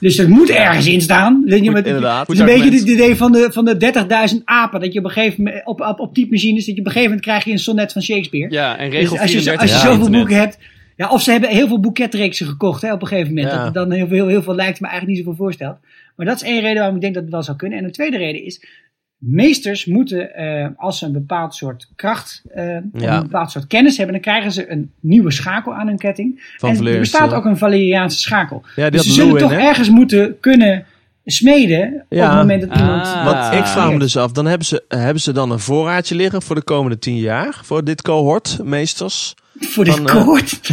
dus dat moet ergens in staan. Weet je, met,
inderdaad.
het is een beetje het idee van de, van de 30.000 apen. Dat je op een gegeven moment, op, op, op typemachines, dat je op een gegeven moment krijg je een sonnet van Shakespeare.
Ja, en
Dus
regel
als je, zo-
34
als je
op
zoveel
internet.
boeken hebt. Ja, of ze hebben heel veel boeketreeksen gekocht hè, op een gegeven moment.
Ja.
Dat het dan heel, heel, heel veel lijkt, maar eigenlijk niet zoveel voorstelt. Maar dat is één reden waarom ik denk dat het wel zou kunnen. En de tweede reden is, meesters moeten, eh, als ze een bepaald soort kracht, eh, of
Ja.
een bepaald soort kennis hebben, dan krijgen ze een nieuwe schakel aan hun ketting.
Van
en er
Valerius,
bestaat
ja.
ook een Valeriaanse schakel.
die
dus
had
ze zullen
Lewin,
toch
hè?
ergens moeten kunnen smeden op
Ja.
het moment dat iemand...
Ah.
Want ik vraag me
Oké.
dus af, dan hebben ze, hebben ze dan een voorraadje liggen voor de komende tien jaar? Voor dit cohort, meesters?
Voor dit
Van, eh,
koord.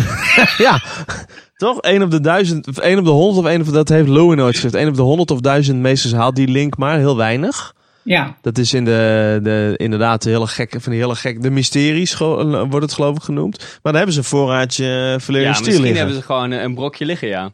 ja, toch? 1 op de duizend, of 1 op de honderd of één op de, dat heeft Lewin ooit gezegd. 1 op de honderd of duizend meesters haalt die link maar, heel weinig.
ja.
Dat is in de, de inderdaad de hele gekke, van die hele gekke, de mysteries ge- eh, wordt het geloof ik genoemd. Maar dan hebben ze een voorraadje eh,
Ja,
Valerian
misschien
Steel liggen.
hebben ze gewoon eh, een brokje liggen, ja.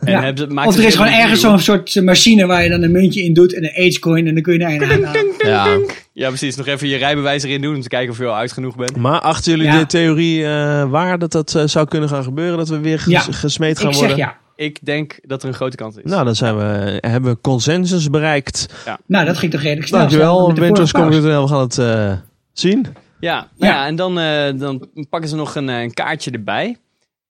En
Ja.
hebben ze- maakt
Of
ze
er is
helemaal
gewoon ergens
nieuw.
zo'n soort eh, machine waar je dan een muntje in doet en een coin en dan kun je daar een aan-
Ja.
Ja, precies. Nog even je rijbewijs erin doen om te kijken of je al uit genoeg bent.
Maar achten jullie
Ja.
de theorie eh, waar dat dat eh, zou kunnen gaan gebeuren? Dat we weer ges-
Ja.
gesmeed gaan
Ik
worden?
zeg ja.
Ik denk dat er een grote kans is.
Nou, dan zijn we, hebben we consensus bereikt.
Nou, dat ging toch redelijk snel. samen
Dankjewel,
met de
Windows
vorige pauze.
Computer. We gaan het eh, zien.
Ja, nou
Ja.
ja, en dan, eh, dan pakken ze nog een, eh, een kaartje erbij.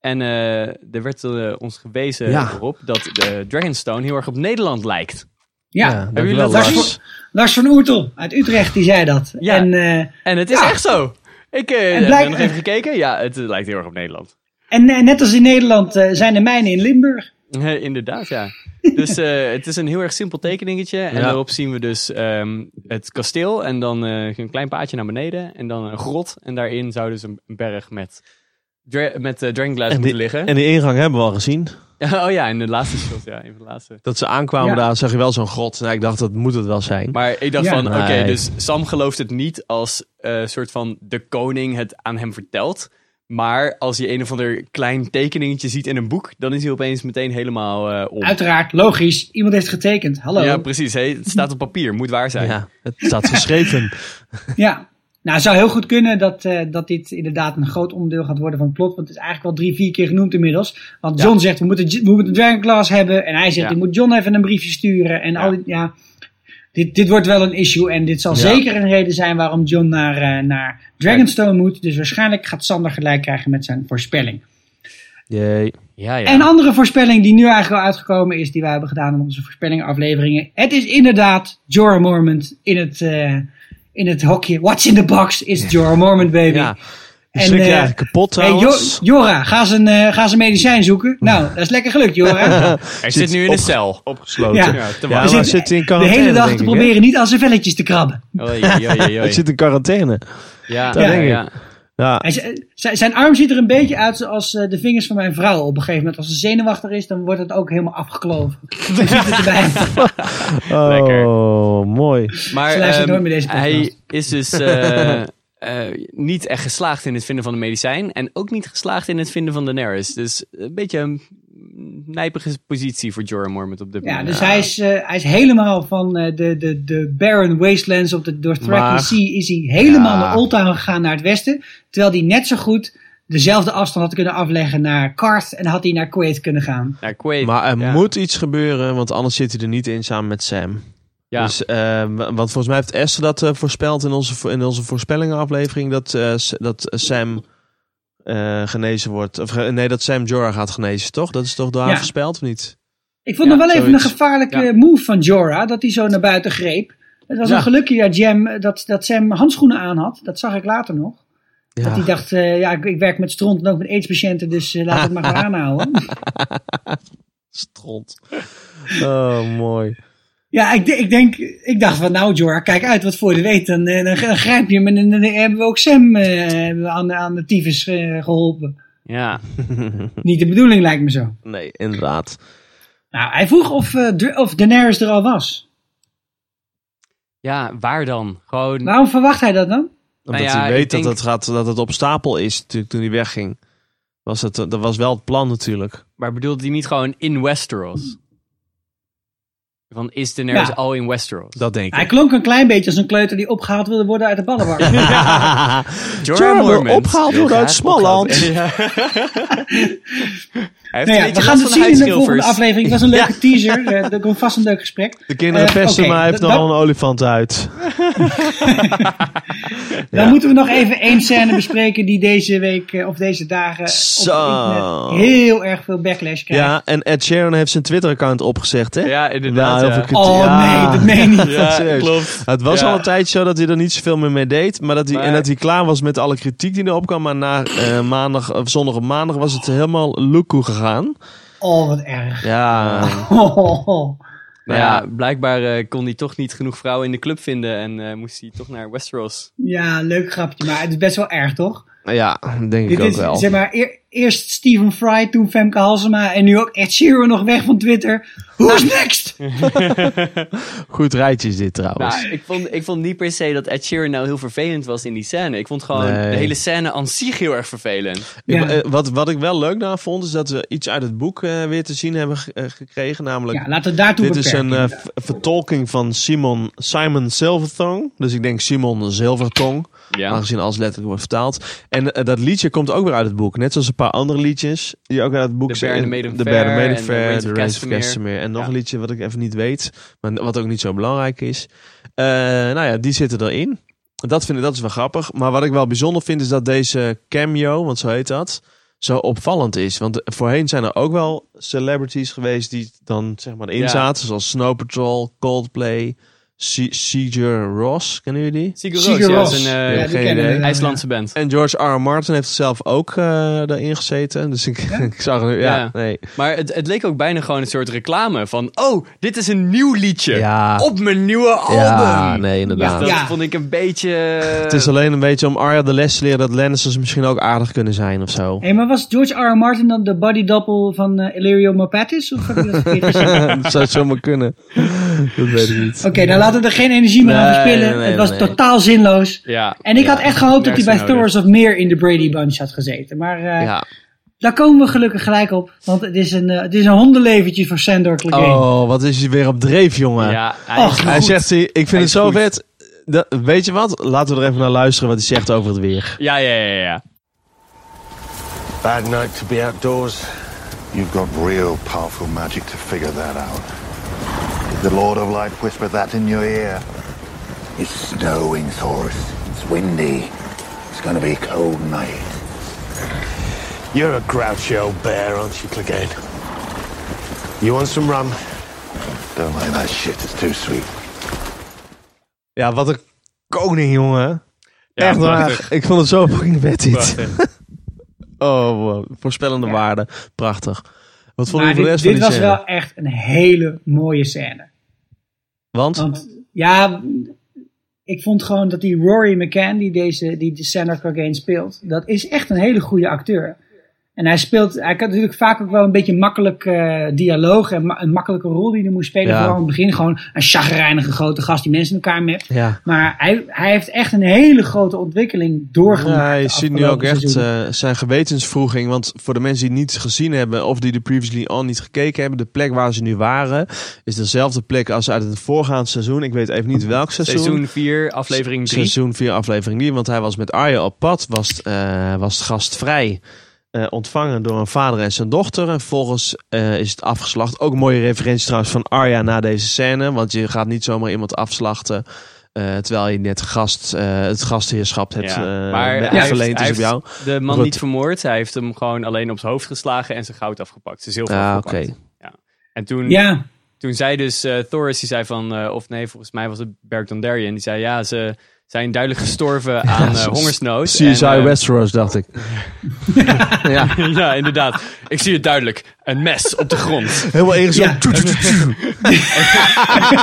En eh, er werd eh, ons gewezen
Ja.
erop dat de Dragonstone heel erg op Nederland lijkt.
Ja,
dankjewel,
jullie dat
Lars.
gezien? Lars van Oertel uit Utrecht, die zei dat.
Ja.
En, eh,
En het is echt zo. Ik eh, heb
blijkt-
nog even gekeken. Ja, het eh, lijkt heel erg op Nederland.
en eh, net als in Nederland eh, zijn de mijnen in Limburg.
Eh, inderdaad, ja. Dus eh, het is een heel erg simpel tekeningetje. En
Ja.
daarop zien we dus ehm, het kasteel. En dan eh, een klein paadje naar beneden. En dan een grot. En daarin zou dus een een berg met, dra- met eh, dragonglass
En
moeten
die,
liggen.
en die ingang hebben we al gezien.
oh ja, in de laatste shot. Ja, een van de laatste.
Dat ze aankwamen
Ja.
daar, zag je wel zo'n grot. Nou, ik dacht, dat moet het wel zijn.
Maar ik dacht
Ja.
van, oké,
Nee.
dus Sam gelooft het niet als eh soort van de koning het aan hem vertelt. Maar als hij een of ander klein tekeningetje ziet in een boek, dan is hij opeens meteen helemaal eh om.
Uiteraard, logisch. Iemand heeft getekend. Hallo.
Ja,
Ja.
precies. hè. het staat op papier, moet waar zijn.
ja, het staat geschreven.
Nou, het zou heel goed kunnen dat, eh, dat dit inderdaad een groot onderdeel gaat worden van het plot. Want het is eigenlijk wel drie, vier keer genoemd inmiddels. Want John zegt, we moeten, J- we moeten Dragon Class hebben. En hij zegt,
Ja.
ik moet John even een briefje sturen. En
Ja.
al die, ja, dit, dit wordt wel een issue. En dit zal zeker een reden zijn waarom John naar, eh, naar Dragonstone moet. Dus waarschijnlijk gaat Sander gelijk krijgen met zijn voorspelling.
Jee.
Ja, ja.
En een andere voorspelling die nu eigenlijk al uitgekomen is, die wij hebben gedaan in onze voorspellingafleveringen. Het is inderdaad Jorah Mormont in het, eh, in het hokje. What's in the box is Jorah Mormont, baby.
Ja.
En,
Schrik je
eh,
eigenlijk kapot
Hey,
trouwens.
Jo- Jorah, ga zijn, eh, ga zijn medicijn zoeken. Nou, dat is lekker gelukt, Jorah.
Hij zit nu in een cel.
Opgesloten.
Ja.
Ja,
te
maar
zit-
hij zit in
De
quarantaine.
hele dag
denk
te
ik, hè?
proberen niet aan zijn velletjes te krabben.
Oei, oei, oei,
Hij
oei.
zit in quarantaine.
Ja,
dat
ja,
denk ik.
ja.
Ja.
Hij z- z- zijn arm ziet er een beetje uit zoals eh, de vingers van mijn vrouw op een gegeven moment. Als ze zenuwachtig is, dan wordt het ook helemaal afgekloven. Dan ziet het erbij.
Oh,
Lekker.
mooi.
Maar
Ze luisteren
ehm,
nooit meer deze podcast.
hij is dus eh, eh, niet echt geslaagd in het vinden van de medicijn. En ook niet geslaagd in het vinden van Daenerys. Dus een beetje een nijpige positie voor Jorah Mormont op dit
Ja,
moment.
dus hij is, eh, hij is helemaal van eh, de, de, de barren wastelands op de Dothraki
Maar-
Sea is hij helemaal
Ja.
naar Oldtown gegaan naar het westen. Terwijl hij net zo goed dezelfde afstand had kunnen afleggen naar Karth en had hij naar Kuwait kunnen gaan.
Naar Quaid.
Maar er
ja.
moet iets gebeuren, want anders zit hij er niet in samen met Sam.
Ja.
Dus, eh, wa- want volgens mij heeft Esther dat eh, voorspeld in onze, vo- in onze voorspellingenaflevering. Dat, eh, S- dat eh, Sam eh, genezen wordt. Of ge- nee, dat Sam Jorah gaat genezen, toch? Dat is toch door haar
Ja.
voorspeld of niet?
Ik vond
Ja,
nog wel even
zoiets.
een gevaarlijke
Ja.
move van Jorah, dat hij zo naar buiten greep. Het was
Ja.
een gelukje ja, Jam, eh, dat, dat Sam handschoenen aan had. Dat zag ik later nog. Dat hij dacht, eh, ja, ik, ik werk met stront en ook met aidspatiënten, dus eh, laat het maar gewoon aanhouden.
Stront. Oh, mooi.
Ja, ik, de- ik denk, ik dacht van nou Jorah, kijk uit wat voor je weet. Dan, eh, dan, dan grijp je hem en dan, dan hebben we ook Sam eh, hebben we aan, aan de tyfus eh, geholpen.
ja.
Niet de bedoeling lijkt me zo.
Nee, inderdaad.
Nou, hij vroeg of, eh, Dr- of Daenerys er al was.
ja, waar dan? Gewoon...
Waarom verwacht hij dat dan?
Omdat
Nou ja,
hij
ik
weet
denk-
dat, het gaat, dat het op stapel is natuurlijk, toen hij wegging. Was het, dat was wel het plan natuurlijk.
Maar bedoelt hij niet gewoon in Westeros? Van is Daenerys
Ja.
al in Westeros?
Dat denk
Hij
ik.
klonk een klein beetje als een kleuter die opgehaald wilde worden uit de ballenbak.
Jorah wil opgehaald worden uit Smalland.
Hij heeft
nou
een
ja, we
beetje
gaan
last
het
van de
zien in de volgende
huidschilfers.
aflevering. Het was een leuke teaser. Eh, Er komt vast een leuk gesprek.
De kinderen
Eh,
pesten,
oké,
maar hij heeft
dat-
nogal een olifant uit.
Dan moeten we nog even één scène bespreken die deze week eh, of deze dagen
Zo.
op het internet heel erg veel backlash krijgt.
Ja, en Ed Sheeran heeft zijn Twitter-account opgezegd, hè?
Ja, inderdaad.
Nou,
ja.
of ik het-
Oh
Ja.
nee, dat meen je niet.
Ja,
serieus.
klopt.
Het was
Ja.
al een tijdje zo dat hij er niet zoveel meer mee deed. Maar dat hij,
Maar-
En dat hij klaar was met alle kritiek die erop kwam. Maar na eh, maandag, of zondag op maandag was het helemaal loekoe gegaan.
Oh, wat erg.
Ja,
Oh, oh, oh.
Nou ja, blijkbaar eh, kon hij toch niet genoeg vrouwen in de club vinden en eh, moest hij toch naar Westeros.
Ja, leuk grapje, maar het is best wel erg, toch?
ja denk ik
Dit
ook
is,
wel.
zeg maar, eer- eerst Steven Fry, toen Femke Halsema en nu ook Ed Sheeran nog weg van Twitter. Who's next?
Goed rijtje is dit trouwens.
Nou, ik vond, ik vond niet per se dat Ed Sheeran nou heel vervelend was in die scène. Ik vond gewoon
Nee.
de hele scène aan zich heel erg vervelend.
Ik-
Ja.
eh, wat, wat ik wel leuk daar vond, is dat we iets uit het boek eh, weer te zien hebben ge- eh, gekregen. Namelijk
Ja, laten we daartoe
Dit is
beperken.
een eh, v- vertolking van Simon, Simon Silvertong. Dus ik denk Simon Silvertong.
Ja.
Aangezien alles letterlijk wordt vertaald. En eh, dat liedje komt ook weer uit het boek. Net zoals een paar andere liedjes. Die ook uit het boek
The Bear and the Maiden
The
Fair
Bear and the
en
Maiden
The Rains
Fair.
of
The Rains of
Castamere.
Castamere. En nog
Ja.
een liedje wat ik even niet weet. Maar wat ook niet zo belangrijk is. Eh, nou ja, die zitten erin. Dat, vind ik, dat is wel grappig. Maar wat ik wel bijzonder vind is dat deze cameo, want zo heet dat, zo opvallend is. Want voorheen zijn er ook wel celebrities geweest die dan zeg maar erin
Ja.
zaten. Zoals Snow Patrol, Coldplay, Se- Sigur Ross. Kennen jullie die?
Sigur
Sigur
Rós, ja,
Rós.
is een eh,
Ja, die
geen
kennen we
idee.
wel, ja.
IJslandse band.
En George R. R. Martin heeft zelf ook eh daarin gezeten. Dus ik, ik zag nu. Ja,
Ja.
nee.
Maar het, het leek ook bijna gewoon een soort reclame van... Oh, dit is een nieuw liedje
Ja.
op mijn nieuwe album.
Ja, nee, inderdaad.
Dat
Ja.
vond ik een beetje...
Het is alleen een beetje om Arya de les te leren dat Lannisters misschien ook aardig kunnen zijn of zo.
Hé, maar was George R. R. Martin dan de body double van eh Illyrio Mopatis? Of heb ik dat verkeerd gezien?
dat zou zomaar kunnen. dat weet ik niet.
Oké, nou laten we er geen energie meer aan
Nee,
verspillen.
nee, nee,
het was
nee.
totaal zinloos.
Ja.
En ik had echt gehoopt dat hij bij
nergens nodig.
Thoros of meer in de Brady Bunch had gezeten. Maar eh,
Ja.
Daar komen we gelukkig gelijk op, want het is een, eh, het is een hondenleventje voor Sandor Clegane.
Oh, wat is hij weer op dreef, jongen.
Ja, hij
Och,
is
Hij
goed.
zegt, hij- ik vind het
is
zo
goed.
vet. Dat, weet je wat? Laten we er even naar luisteren wat hij zegt over het weer.
Ja, ja, ja, ja.
Bad night to be outdoors.
You've got real powerful magic to figure that out. The Lord of Light whispered that in your ear.
It's snowing, Thoris. It's windy. It's gonna be a cold night. You're a grouchy old bear, aren't you, Clegane? You want some rum?
Don't like that shit, it's too sweet.
Ja, wat een koning, jongen.
Ja,
Echt
prachtig.
waar. Ik vond het zo fucking vet dit.
Prachtig.
Oh, wow. voorspellende waarden. Prachtig. Wat vond je
Maar
voor
Nou, dit,
de rest van
dit
die
was
scène?
wel echt een hele mooie scène.
Want?
Want ja, ik vond gewoon dat die Rory McCann, die deze, die de Sandra Clegane speelt, dat is echt een hele goede acteur. En hij speelt, hij kan natuurlijk vaak ook wel een beetje makkelijk eh, dialoog en ma- een makkelijke rol die hij moest spelen.
Ja.
Vooral in het begin gewoon een chagrijnige grote gast die mensen in elkaar met.
Ja.
Maar hij, hij heeft echt een hele grote ontwikkeling doorgemaakt.
Ja, je
de
ziet nu ook
afgelopen
echt
seizoenen.
eh, zijn gewetensvroeging. Want voor de mensen die niet gezien hebben of die de Previously On niet gekeken hebben, de plek waar ze nu waren, is dezelfde plek als uit het voorgaande seizoen. Ik weet even niet welk seizoen.
Seizoen 4, aflevering 3.
Seizoen 4, aflevering 3. Want hij was met Arjen op pad, was, eh, was gastvrij eh, ontvangen door een vader en zijn dochter. En volgens eh, is het afgeslacht. Ook een mooie referentie trouwens van Arja na deze scène. Want je gaat niet zomaar iemand afslachten. eh, terwijl je net gast, eh, het gastheerschap hebt
Ja,
eh,
maar
be-
hij
verleend
heeft-
is
hij
op jou.
heeft de man
Wat-
niet vermoord. Hij heeft hem gewoon alleen op zijn hoofd geslagen en zijn goud afgepakt. Zijn zilver
Ah, oké.
afgepakt. En
eh,
toen,
Ja,
toen zei dus eh Thoris, die zei van... eh, of nee, volgens mij was het Bergdondarian. Die zei, ja, ze zijn duidelijk gestorven aan eh, hongersnood.
CSI
En, eh,
Westeros, dacht ik. ja,
ja, inderdaad. Ik zie het duidelijk. Een mes op de grond.
helemaal
ja.
ingezoomd.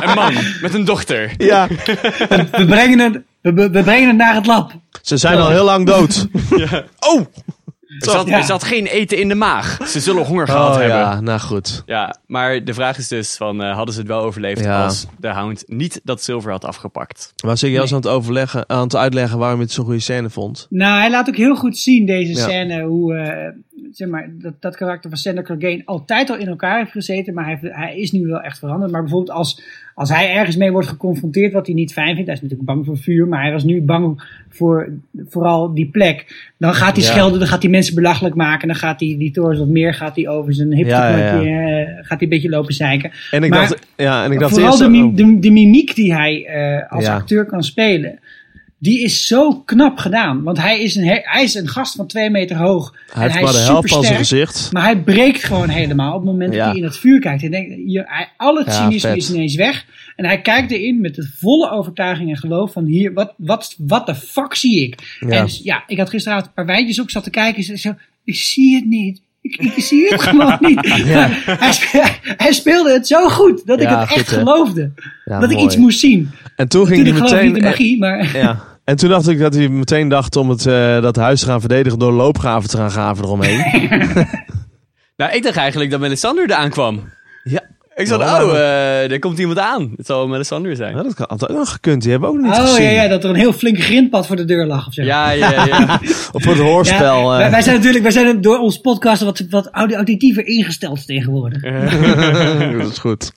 Een man met een dochter.
Ja.
we, brengen het, we, we- we brengen het naar het lab.
Ze zijn al heel lang dood. Oh!
Er zat,
Ja.
er zat geen eten in de maag. Ze zullen honger gehad
Oh
hebben. Ja.
ja, nou goed.
maar de vraag is dus van, eh, hadden ze het wel overleefd
Ja.
als de hound niet dat zilver had afgepakt?
Was ik juist aan het overleggen, aan het uitleggen waarom je het zo'n goede scène vond?
Nou, hij laat ook heel goed zien deze
Ja.
scène hoe eh, zeg maar, dat, dat karakter van Sander Clegane altijd al in elkaar heeft gezeten, maar hij, heeft- hij is nu wel echt veranderd. Maar bijvoorbeeld als, als hij ergens mee wordt geconfronteerd wat hij niet fijn vindt, hij is natuurlijk bang voor vuur, maar hij was nu bang voor vooral die plek. Dan gaat hij
Ja.
schelden, dan gaat hij mensen belachelijk maken, dan gaat hij die torens wat meer, gaat hij over zijn hip
Ja, ja, ja.
teknotje, eh, gaat hij een beetje lopen zeiken.
En ik
Maar-
dacht, ja, en ik dacht
Vooral
eerst.
de,
oh,
mi- de, de mimiek die hij eh, als
Ja.
acteur kan spelen. Die is zo knap gedaan. Want hij is een, he- hij is een gast van twee meter hoog.
hij
en
heeft
hij
maar de
is
helft van zijn
supersterk.
gezicht.
Maar hij breekt gewoon helemaal op het moment
Ja.
dat hij in het vuur kijkt. Hij denkt, je, hij, al het
Ja,
cynisme
vet.
is ineens weg. En hij kijkt erin met de volle overtuiging en geloof van hier, wat, wat, wat de fuck zie ik?
Ja.
En dus, ja, ik had gisteravond een paar wijntjes op, zat te kijken. en Zo, ik zie het niet. Ik, ik zie het gewoon niet. Maar Hij, speelde, hij speelde het zo goed dat ik
Ja,
het
goed,
echt
hè?
geloofde.
Ja,
dat ik
mooi.
iets moest zien.
En toen ging
Natuurlijk
hij
geloof ik niet
meteen.
in magie, maar...
ja. En toen dacht ik dat hij meteen dacht om het, eh, dat huis te gaan verdedigen door loopgraven te gaan graven eromheen.
Nou, ik dacht eigenlijk dat Melisandre eraan kwam.
ja.
Ik zat,
Ja.
oh, eh, er komt iemand aan. Het zal Melisandre zijn.
Nou, dat kan- had ook nog gekund. Die hebben we ook niet
Oh
gezien.
ja, ja, dat er een heel flink grindpad voor de deur lag. Of zo.
Ja, ja, ja.
Of voor het hoorspel.
Ja,
eh.
wij, wij zijn natuurlijk wij zijn door ons podcast wat, wat audi- auditiever ingesteld tegenwoordig.
dat is goed.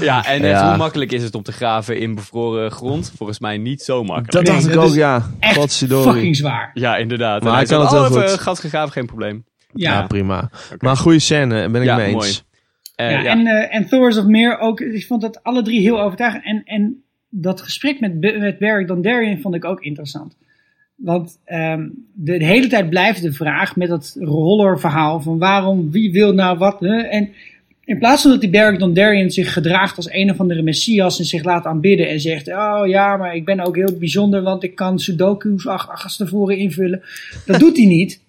ja en eh,
Ja.
hoe makkelijk is het om te graven in bevroren grond? Volgens mij niet zo makkelijk.
Dat
Nee,
dacht ik
dat
ook,
is
ja.
Echt
Godzijdank.
fucking zwaar.
Ja, inderdaad.
Maar
En
hij kan
zegt,
het heel
oh, even
goed.
een gat gegraven, geen probleem.
Ja.
Ja, prima. Maar goede scène, ben ik
Ja,
mee eens.
mooi. Eh,
Ja,
ja.
En, eh en Thor's of Meer ook. Ik vond dat alle drie heel overtuigend. En, en dat gesprek met, B- met Barry Dondarrion vond ik ook interessant. Want ehm, de, de hele tijd blijft de vraag met dat rollerverhaal van waarom, wie wil nou wat. hè? En in plaats van dat die Barry Dondarrion zich gedraagt als een of andere messias en zich laat aanbidden en zegt: Oh ja, maar ik ben ook heel bijzonder, want ik kan Sudoku's ach- achterstevoren invullen. Dat doet hij niet.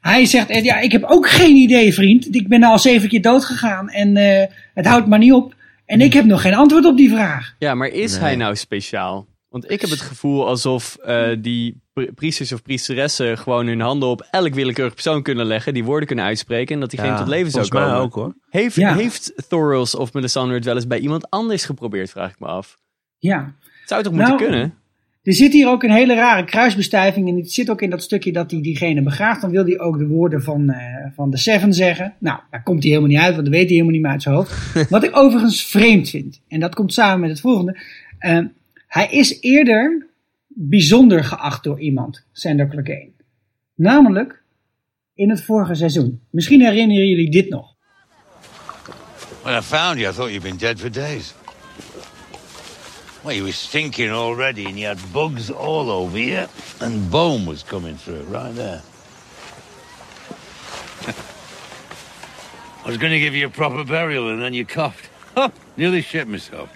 Hij zegt, eh, ja, ik heb ook geen idee, vriend. Ik ben al zeven keer dood gegaan en eh, het houdt maar niet op. En ik heb nog geen antwoord op die vraag.
Ja, maar is hij nou speciaal? Want ik heb het gevoel alsof eh, die pri- priesters of priesteressen gewoon hun handen op elk willekeurig persoon kunnen leggen, die woorden kunnen uitspreken en dat diegene
Ja,
tot leven zou
volgens mij
komen.
ook hoor.
Heeft,
Ja.
heeft Thoros of Melisandre het wel eens bij iemand anders geprobeerd, vraag ik me af.
Ja.
Zou het toch
Nou,
moeten kunnen?
Er zit hier ook een hele rare kruisbestuiving. En het zit ook in dat stukje dat hij diegene begraaft. Dan wil hij ook de woorden van, eh, van de Seven zeggen. Nou, daar komt hij helemaal niet uit, want dat weet hij helemaal niet meer uit zijn hoofd. Wat ik overigens vreemd vind, en dat komt samen met het volgende. eh, hij is eerder bijzonder geacht door iemand, Sander Clegane. Namelijk in het vorige seizoen. Misschien herinneren jullie dit nog.
When I found you, I thought you'd been dead for days. Well, you were stinking already, and you had bugs all over you, and bone was coming through right there. I was going to give you a proper burial and then you coughed. Huh, nearly shit myself.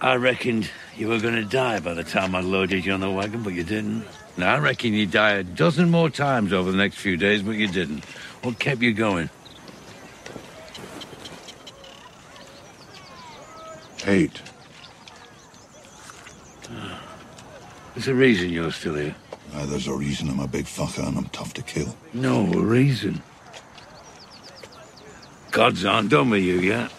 I reckoned you were going to die by the time I loaded you on the wagon, but you didn't. Now, I reckon you die a dozen more times over the next few days, but you didn't. What kept you going?
Hate.
There's a reason you're still here.
Now, Uh, there's a reason I'm a big fucker and I'm tough to kill.
No reason. Gods aren't done with you yet.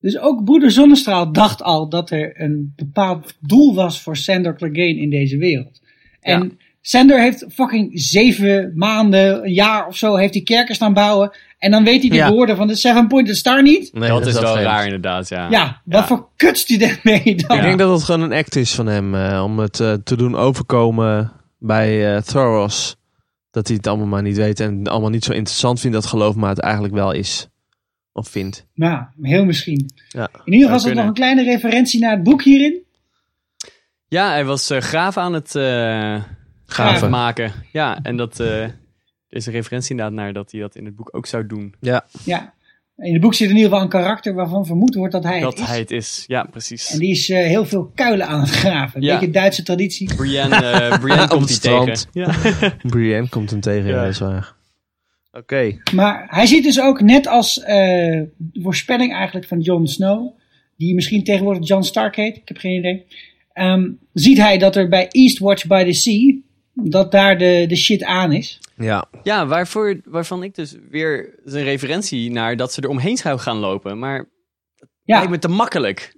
Dus ook broeder Zonnestraal dacht al dat er een bepaald doel was voor Sander Clegane in deze wereld. En Sander heeft fucking zeven maanden, een jaar of zo, heeft die kerken staan bouwen. En dan weet hij de
Ja.
woorden van de Seven Pointed Star niet.
Nee,
dat, is wel
vreemd.
raar inderdaad, ja.
Ja, wat voor kut student ben je dan?
Ik denk dat het gewoon een act is van hem eh, om het eh, te doen overkomen bij eh Thoros. Dat hij het allemaal maar niet weet en het allemaal niet zo interessant vindt, dat geloof maar het eigenlijk wel is. Of vindt.
Nou, heel misschien.
Ja.
In ieder geval is
Zou
dat nog
kunnen.
een kleine referentie naar het boek hierin.
Ja, hij was eh, graaf aan het eh,
Graven.
maken. Ja, en dat eh, er is een referentie inderdaad naar dat hij dat in het boek ook zou doen.
Ja.
Ja. In het boek zit in ieder geval een karakter waarvan vermoed wordt dat hij
dat
het is.
hij het is. Ja, precies.
En die is eh, heel veel kuilen aan het graven. Een
Ja.
beetje Duitse traditie.
Brienne, eh, Brienne
Op
komt
het
die
strand.
tegen. Ja.
Brienne komt hem tegen, ja,
Ja.
dat is waar. Oké.
Maar hij ziet dus ook net als eh, de voorspelling eigenlijk van Jon Snow, die misschien tegenwoordig Jon Stark heet, ik heb geen idee. ehm, ziet hij dat er bij Eastwatch by the Sea, dat daar de, de shit aan is.
Ja.
Ja, waarvoor, waarvan ik dus weer een referentie naar dat ze er omheen zou gaan lopen. Maar
Ja,
lijkt me te makkelijk.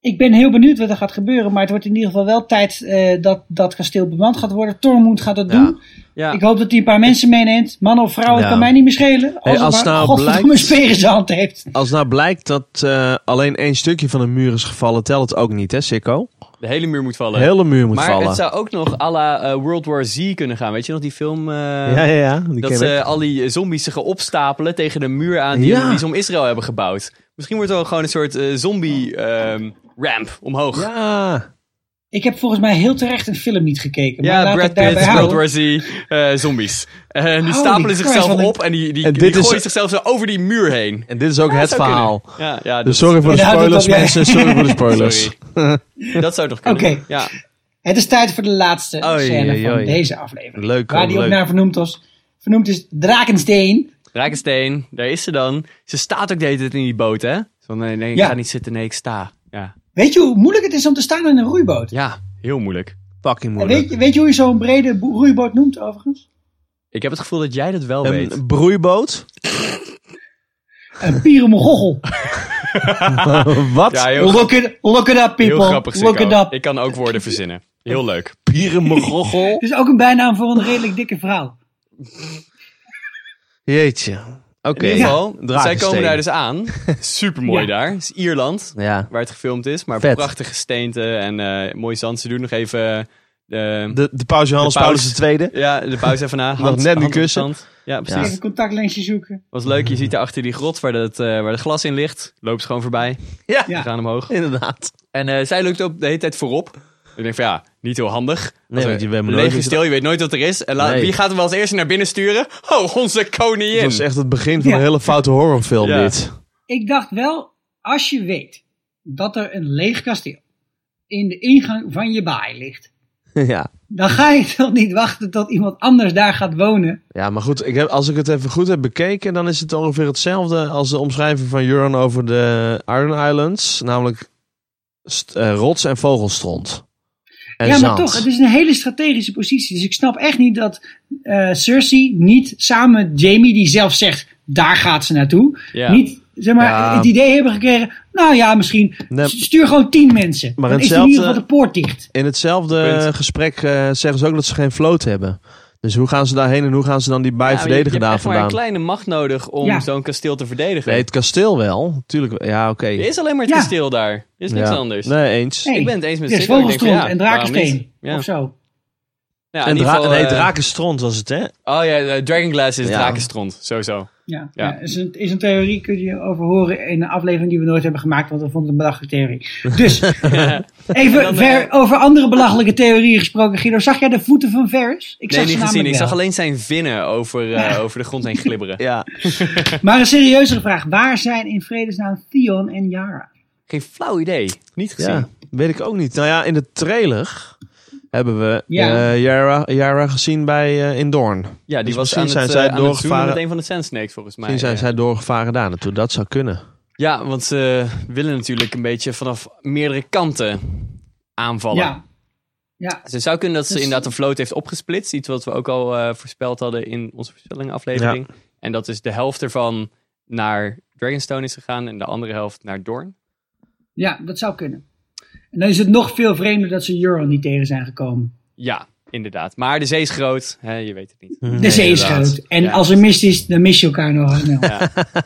ik ben heel benieuwd wat er gaat gebeuren, maar het wordt in ieder geval wel tijd eh, dat dat kasteel bemand gaat worden. Tormund gaat dat
Ja.
doen.
Ja,
Ik hoop dat hij een paar mensen meeneemt, mannen of vrouwen,
Ja.
kan mij niet meer schelen. Als,
als
het maar
nou
godverdomme
blijkt-
een speer in zijn hand heeft.
Als nou blijkt dat eh, alleen één stukje van een muur is gevallen, telt het ook niet, hè, Sikko?
de hele muur moet
De
vallen.
hele muur moet
maar
vallen.
het zou ook nog à la eh, World War Z kunnen gaan. Weet je nog die film? eh,
ja, ja, ja. Die
dat eh,
ken
ze
ik.
al die zombies zich gaan opstapelen tegen de muur aan die,
Ja.
die ze om Israël hebben gebouwd. Misschien wordt er wel gewoon een soort eh, zombie-ramp omhoog. Ja,
Ja.
Ik heb volgens mij heel terecht een film niet gekeken. maar laat
Brad
ik daarbij
Pitt, World
houden.
War Z, eh, zombies. En die
Holy
stapelen
Christ,
zichzelf
wat een-
op en die, die,
En
die
dit is-
gooien zichzelf zo over die muur heen.
En dit is ook het
zou kunnen.
verhaal.
Ja, ja,
Dus
dat-
sorry voor de
Ja, dat
spoilers,
heb jij.
mensen. Sorry voor de spoilers.
Sorry. dat zou toch kunnen?
Oké.
Ja.
Het is tijd voor de laatste
Oei,
scène
oei,
van
oei.
deze aflevering.
Leuk,
waar
oh,
hoor,
die ook
leuk.
naar vernoemd was. Vernoemd is Drakensteen.
Rijkensteen, daar is ze dan. Ze staat ook de hele tijd in die boot, hè? Zo, nee, nee, ik
Ja.
ga niet zitten, nee, ik sta. Ja,
Weet je hoe moeilijk het is om te staan in een roeiboot?
ja heel moeilijk.
Fucking
En
moeilijk.
weet, je, weet je hoe je zo'n brede bo- roeiboot noemt overigens?
Ik heb het gevoel dat jij dat wel weet.
Een broeiboot?
Een pierenmogochel.
Wat?
Ja, heel,
Look it, look it up people.
heel grappig,
look it
Sikko.
up.
Ik kan ook woorden verzinnen. Heel leuk.
Pierenmogochel?
Het is ook een bijnaam voor een redelijk dikke vrouw.
Jeetje. Oké.
In ieder geval, zij komen
Drakensteen.
daar dus aan. Supermooi
Ja.
daar. Het is Ierland,
Ja.
waar het gefilmd is. Maar
Vet.
prachtige steenten en eh mooi zand. Ze doen nog even... eh,
De, de paus Johannes
De paus.
Paulus II.
ja, de pauze even na.
net
Hand-
niet
hand op
kussen.
zand. Ja, precies.
Even een contactlensje zoeken.
Was leuk, je ziet daar achter die grot waar het, eh, waar het glas in ligt. Loopt ze gewoon voorbij.
Ja.
We gaan omhoog.
Inderdaad.
En eh, zij loopt ook de hele tijd voorop. Ik denk van ja, niet heel handig.
Nee, want je bent maar nooit-
leeg is stil, je weet nooit wat er is. En laat-
Nee.
wie gaat hem wel als eerste naar binnen sturen? Oh, onze koningin!
Het was echt het begin van
Ja.
een hele foute horrorfilm,
Ja.
dit.
Ik dacht wel, als je weet dat er een leeg kasteel in de ingang van je baai ligt.
ja.
Dan ga je toch niet wachten tot iemand anders daar gaat wonen.
Ja, maar goed, ik heb, als ik het even goed heb bekeken, dan is het ongeveer hetzelfde als de omschrijving van Juran over de Iron Islands. Namelijk st- eh, rots en vogelstront. En
ja,
zand.
maar toch, het is een hele strategische positie. Dus ik snap echt niet dat eh, Cersei niet samen met Jamie, die zelf zegt, daar gaat ze naartoe,
Ja.
niet zeg maar,
Ja.
het idee hebben gekregen, nou ja, misschien
Nee.
s- stuur gewoon tien mensen.
Maar
Dan is in
hetzelfde-
ieder geval de poort dicht.
In hetzelfde
Punt.
gesprek eh, zeggen ze ook dat ze geen vloot hebben. Dus hoe gaan ze daarheen en hoe gaan ze dan die baai
Ja, maar Nou, je-
verdedigen
je hebt
daar
echt maar een
vandaan?
kleine macht nodig om
Ja.
zo'n kasteel te verdedigen.
Nee, het kasteel wel. Tuurlijk, ja, oké.
Er is alleen maar het
Ja.
kasteel daar. Er is niks
Ja.
anders.
Nee, eens.
Hey,
Ik ben het eens met
er is
Sikko. Ik denk van,
vogelstront
ja,
en
waarom niet?
drakensteen,
Ja.
of zo.
Ja, in
en
ieder
dra
geval,
nee,
eh,
drakenstront was het, hè?
Oh ja, eh, Dragonglass is
Ja.
drakenstront, sowieso.
Ja, ja. is, een, is een theorie, kun je over horen in een aflevering die we nooit hebben gemaakt, want we vonden het een belachelijke theorie. Dus, even ver-
eh,
over andere belachelijke theorieën gesproken, Guido. Zag jij de voeten van Ferris? Ik
nee,
ze
niet gezien.
namelijk
Ik
wel.
zag alleen zijn vinnen over, eh, over de grond heen glibberen.
ja.
Maar een serieuzere vraag. Waar zijn in vredesnaam Theon en Yara?
Geen flauw idee. Niet gezien.
Ja, weet ik ook niet. Nou ja, in de trailer hebben we
Ja.
eh, Yara, Yara gezien bij eh, in Doorn.
Ja, die
Dus
was
misschien
aan het,
zijn
eh,
zij
aan het zoenen
doorgevaren-
met een van de Sand Snakes volgens mij.
Misschien zijn
eh.
zij doorgevaren daar naartoe. Dat zou kunnen.
Ja, want ze willen natuurlijk een beetje vanaf meerdere kanten aanvallen.
Ja. Ja.
Dus het zou kunnen dat ze
Dus-
inderdaad een vloot heeft opgesplitst. Iets wat we ook al eh, voorspeld hadden in onze voorspellingenaflevering. En dat is de helft ervan naar Dragonstone is gegaan en de andere helft naar Dorn.
ja, dat zou kunnen. En dan is het nog veel vreemder dat ze Euron niet tegen zijn gekomen.
Ja, inderdaad. Maar de zee is groot. Hè, je weet het niet.
De zee is
inderdaad.
groot. En
Ja.
als er mist is, dan mis je elkaar nog snel.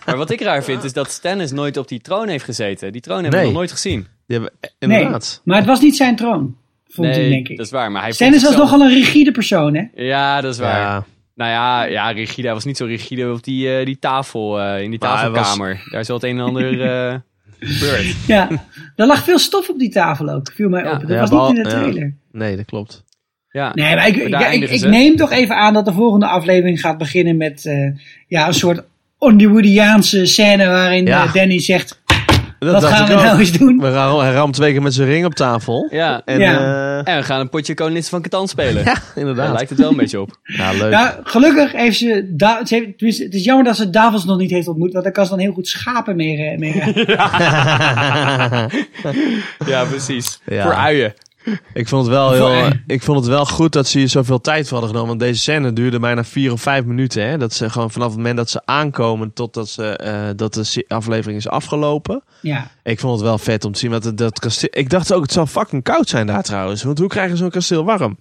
Maar wat ik raar vind is dat Stannis nooit op die troon heeft gezeten. Die troon hebben we
Nee.
nog nooit gezien.
Die hebben, eh,
Nee,
inderdaad.
maar het was niet zijn troon, vond hij, denk ik.
dat is waar. Maar hij
Stennis
vond
was
zichzelf-
nogal een rigide persoon, hè?
Ja, dat is waar.
Ja.
Nou ja, ja, rigide. Hij was niet zo rigide op die, eh, die tafel, eh, in die
Maar hij was-
tafelkamer. Daar is wel het een en ander eh gebeurd.
Ja. er lag veel stof op die tafel ook, viel mij
Ja,
op. Dat
ja,
was
behal-
niet in de
ja.
trailer.
Nee, dat klopt.
Ja.
Nee, maar ik,
daar
ik, ik,
eindigen
ik
ze.
neem toch even aan dat de volgende aflevering gaat beginnen met eh, ja, een soort Hollywoodiaanse scène waarin
Ja.
eh, Danny zegt,
Dat
wat
dacht
gaan
ik
we
ook.
nou eens doen?
We ram, hij ramt twee keer met zijn ring op tafel.
Ja.
En
Ja.
eh,
En we gaan een potje Koningin van Catan spelen. Daar
inderdaad.
lijkt het wel een beetje op.
Nou, leuk.
Nou, gelukkig heeft ze, Da- ze heeft- tenminste, het is jammer dat ze Davos nog niet heeft ontmoet, want daar kan ze dan heel goed schapen mee, eh, mee rijden.
Ja, precies.
Ja.
Voor uien.
ik, vond het wel heel,
Voor-
ik vond het wel goed dat ze hier zoveel tijd voor hadden genomen. Want deze scène duurde bijna vier of vijf minuten. Hè? Dat ze gewoon vanaf het moment dat ze aankomen totdat ze, eh, dat de se- aflevering is afgelopen.
Ja,
Ik vond het wel vet om te zien. Want het- dat kasteel, ik dacht ook, het zal fucking koud zijn daar trouwens. Want hoe krijgen ze zo'n kasteel warm?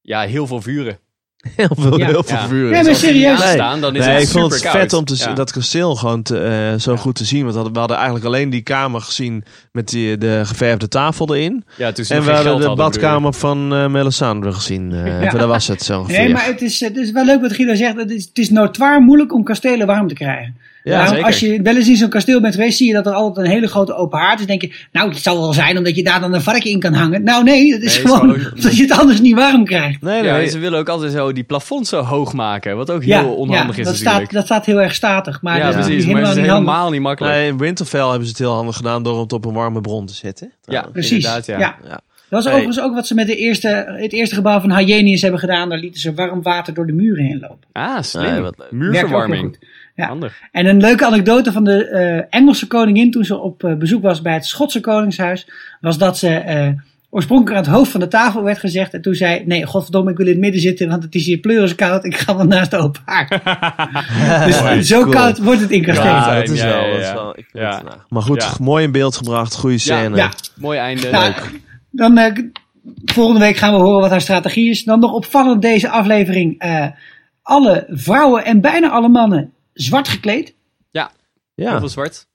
Ja, heel veel vuren.
Heel veel,
Ja.
heel veel
Ja.
vuur.
nee, maar serieus.
Ja. staan, dan is het
ik vond het
superkoud.
vet om te zien
Ja.
dat kasteel gewoon te, eh, zo goed te zien. Want we hadden- we hadden eigenlijk alleen die kamer gezien met die, de geverfde tafel erin.
Ja, toen ze
En
nog
we hadden
geen geld
de
hadden, bedoel je.
badkamer van eh Melisandre gezien. eh
Ja.
Daar was het zo ongeveer.
Nee, maar het is, het is wel leuk wat Guido zegt. Het is, het is notoir moeilijk om kastelen warm te krijgen.
Ja,
Daarom,
zeker.
Als je wel eens in zo'n kasteel bent geweest, zie je dat er altijd een hele grote open haard is. denk je, nou, het zal wel zijn omdat je daar dan een varken in kan hangen. Nou nee, dat is
Nee, het is
gewoon
gewoon-
dat je het anders niet warm krijgt.
nee,
Ja,
nee.
en ze willen ook altijd zo die plafonds zo hoog maken. Wat ook heel onhandig
ja,
is
dat
natuurlijk.
staat, dat staat heel erg statig. Maar
ja,
dat is
precies.
natuurlijk
Maar
helemaal
het is
niet handig.
helemaal niet makkelijk.
Nee, in Winterfell hebben ze het heel handig gedaan door het op een warme bron te zetten.
ja,
Precies,
inderdaad, ja.
ja.
Ja.
Dat was
Hey.
overigens ook wat ze met de eerste, het eerste gebouw van Hyenius hebben gedaan. Daar lieten ze warm water door de muren heen lopen.
Ah, slim.
Nee, wat leuk.
Werkt ook heel
Muurverwarming.
goed. Ja.
Handig.
En een leuke anekdote van de eh, Engelse koningin toen ze op eh, bezoek was bij het Schotse koningshuis, was dat ze eh, oorspronkelijk aan het hoofd van de tafel werd gezegd. En toen zei, nee, godverdomme, ik wil in het midden zitten, want het is hier pleurenskoud. Ik ga wel naast de open haard. dus zo
cool.
koud wordt het in kasteel.
Ja,
dat is
ja,
wel.
ja,
dat is
ja.
wel- ik vind
Ja.
het- nou. Maar goed,
Ja.
mooi in beeld gebracht. Goede scène.
ja.
Mooi einde.
Nou,
Leuk.
dan eh, volgende week gaan we horen wat haar strategie is. Dan nog opvallend deze aflevering. eh, alle vrouwen en bijna alle mannen zwart gekleed.
Ja, heel
Ja.
veel zwart.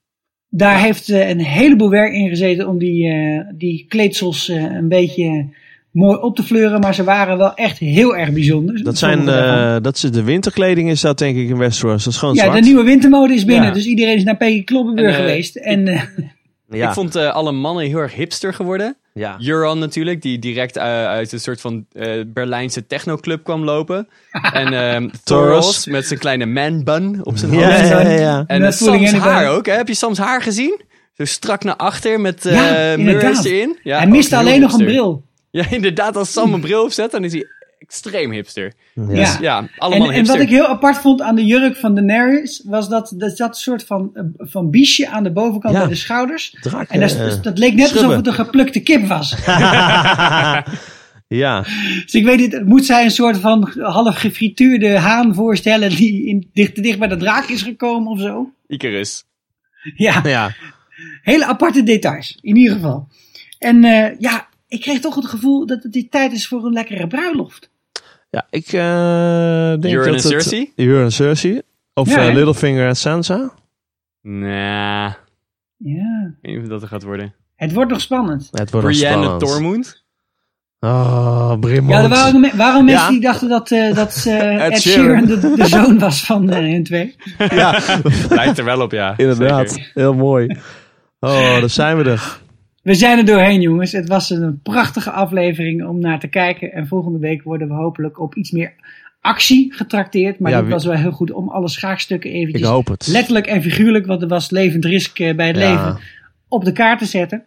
Daar heeft eh, een heleboel werk in gezeten om die, eh, die kleedsels eh, een beetje mooi op te fleuren. Maar ze waren wel echt heel erg bijzonder.
Dat zijn,
Sommige daarvan.
eh, dat is de winterkleding is dat denk ik in Westeros. Dat is gewoon
ja,
zwart.
de nieuwe wintermode is binnen.
Ja.
Dus iedereen is naar Peggy Kloppenburg
En, eh,
geweest. En eh,
Ja.
Ik vond eh, alle mannen heel erg hipster geworden.
ja.
Juran natuurlijk, die direct eh, uit een soort van eh Berlijnse technoclub kwam lopen. en ehm Thoros met zijn kleine man-bun op zijn
Ja,
hoofd.
ja, ja, ja.
En eh,
Not fooling
Sam's
anybody.
haar ook. Hè? Heb je Sam's haar gezien? Zo strak naar achter met eh
Ja,
mirrors
inderdaad.
erin. Ja,
hij
ook
miste
heel
alleen nog een
hipster.
bril.
Ja, inderdaad. Als Sam een bril opzet, dan is hij extreem hipster. Dus
Ja.
Ja, allemaal
En, en
hipster.
wat ik heel apart vond aan de jurk van Daenerys, was dat er zat een soort van, eh, van biesje aan de bovenkant
Ja.
bij de schouders.
Draken,
en dat, dus
eh,
dat leek net alsof
schubben.
het een geplukte kip was.
ja.
dus ik weet niet, het moet zij een soort van half gefrituurde haan voorstellen die in, dicht, te dicht bij de draak is gekomen of zo?
Icarus.
Ja,
ja.
hele aparte details, in ieder geval. En eh, ja, ik kreeg toch het gevoel dat het die tijd is voor een lekkere bruiloft.
Ja, ik eh, denk
Euron
dat
en
het...
Cersei?
Euron en Cersei. Of
Ja,
eh,
hè?
Littlefinger en Sansa.
Nah, ik
Ja,
weet niet of dat er gaat worden.
het wordt nog spannend.
Het wordt wel
Brienne
spannend.
Tormund.
Oh, Brimmond.
Ja, er waren, me- waren mensen
Ja.
die dachten dat, eh, dat eh,
Ed
Ed
Sheeran.
Sheeran de, de zoon was van eh, hun twee.
Lijkt er wel op, ja.
Inderdaad,
Zeker.
heel mooi. Oh, daar zijn we er.
We zijn er doorheen, jongens. Het was een prachtige aflevering om naar te kijken. En volgende week worden we hopelijk op iets meer actie getrakteerd. Maar
Ja,
dit
wie-
was wel heel goed om alle schaakstukken
Ik
eventjes
hoop het.
letterlijk en figuurlijk, want er was levend risk eh, bij het
Ja.
leven, op de kaart te zetten.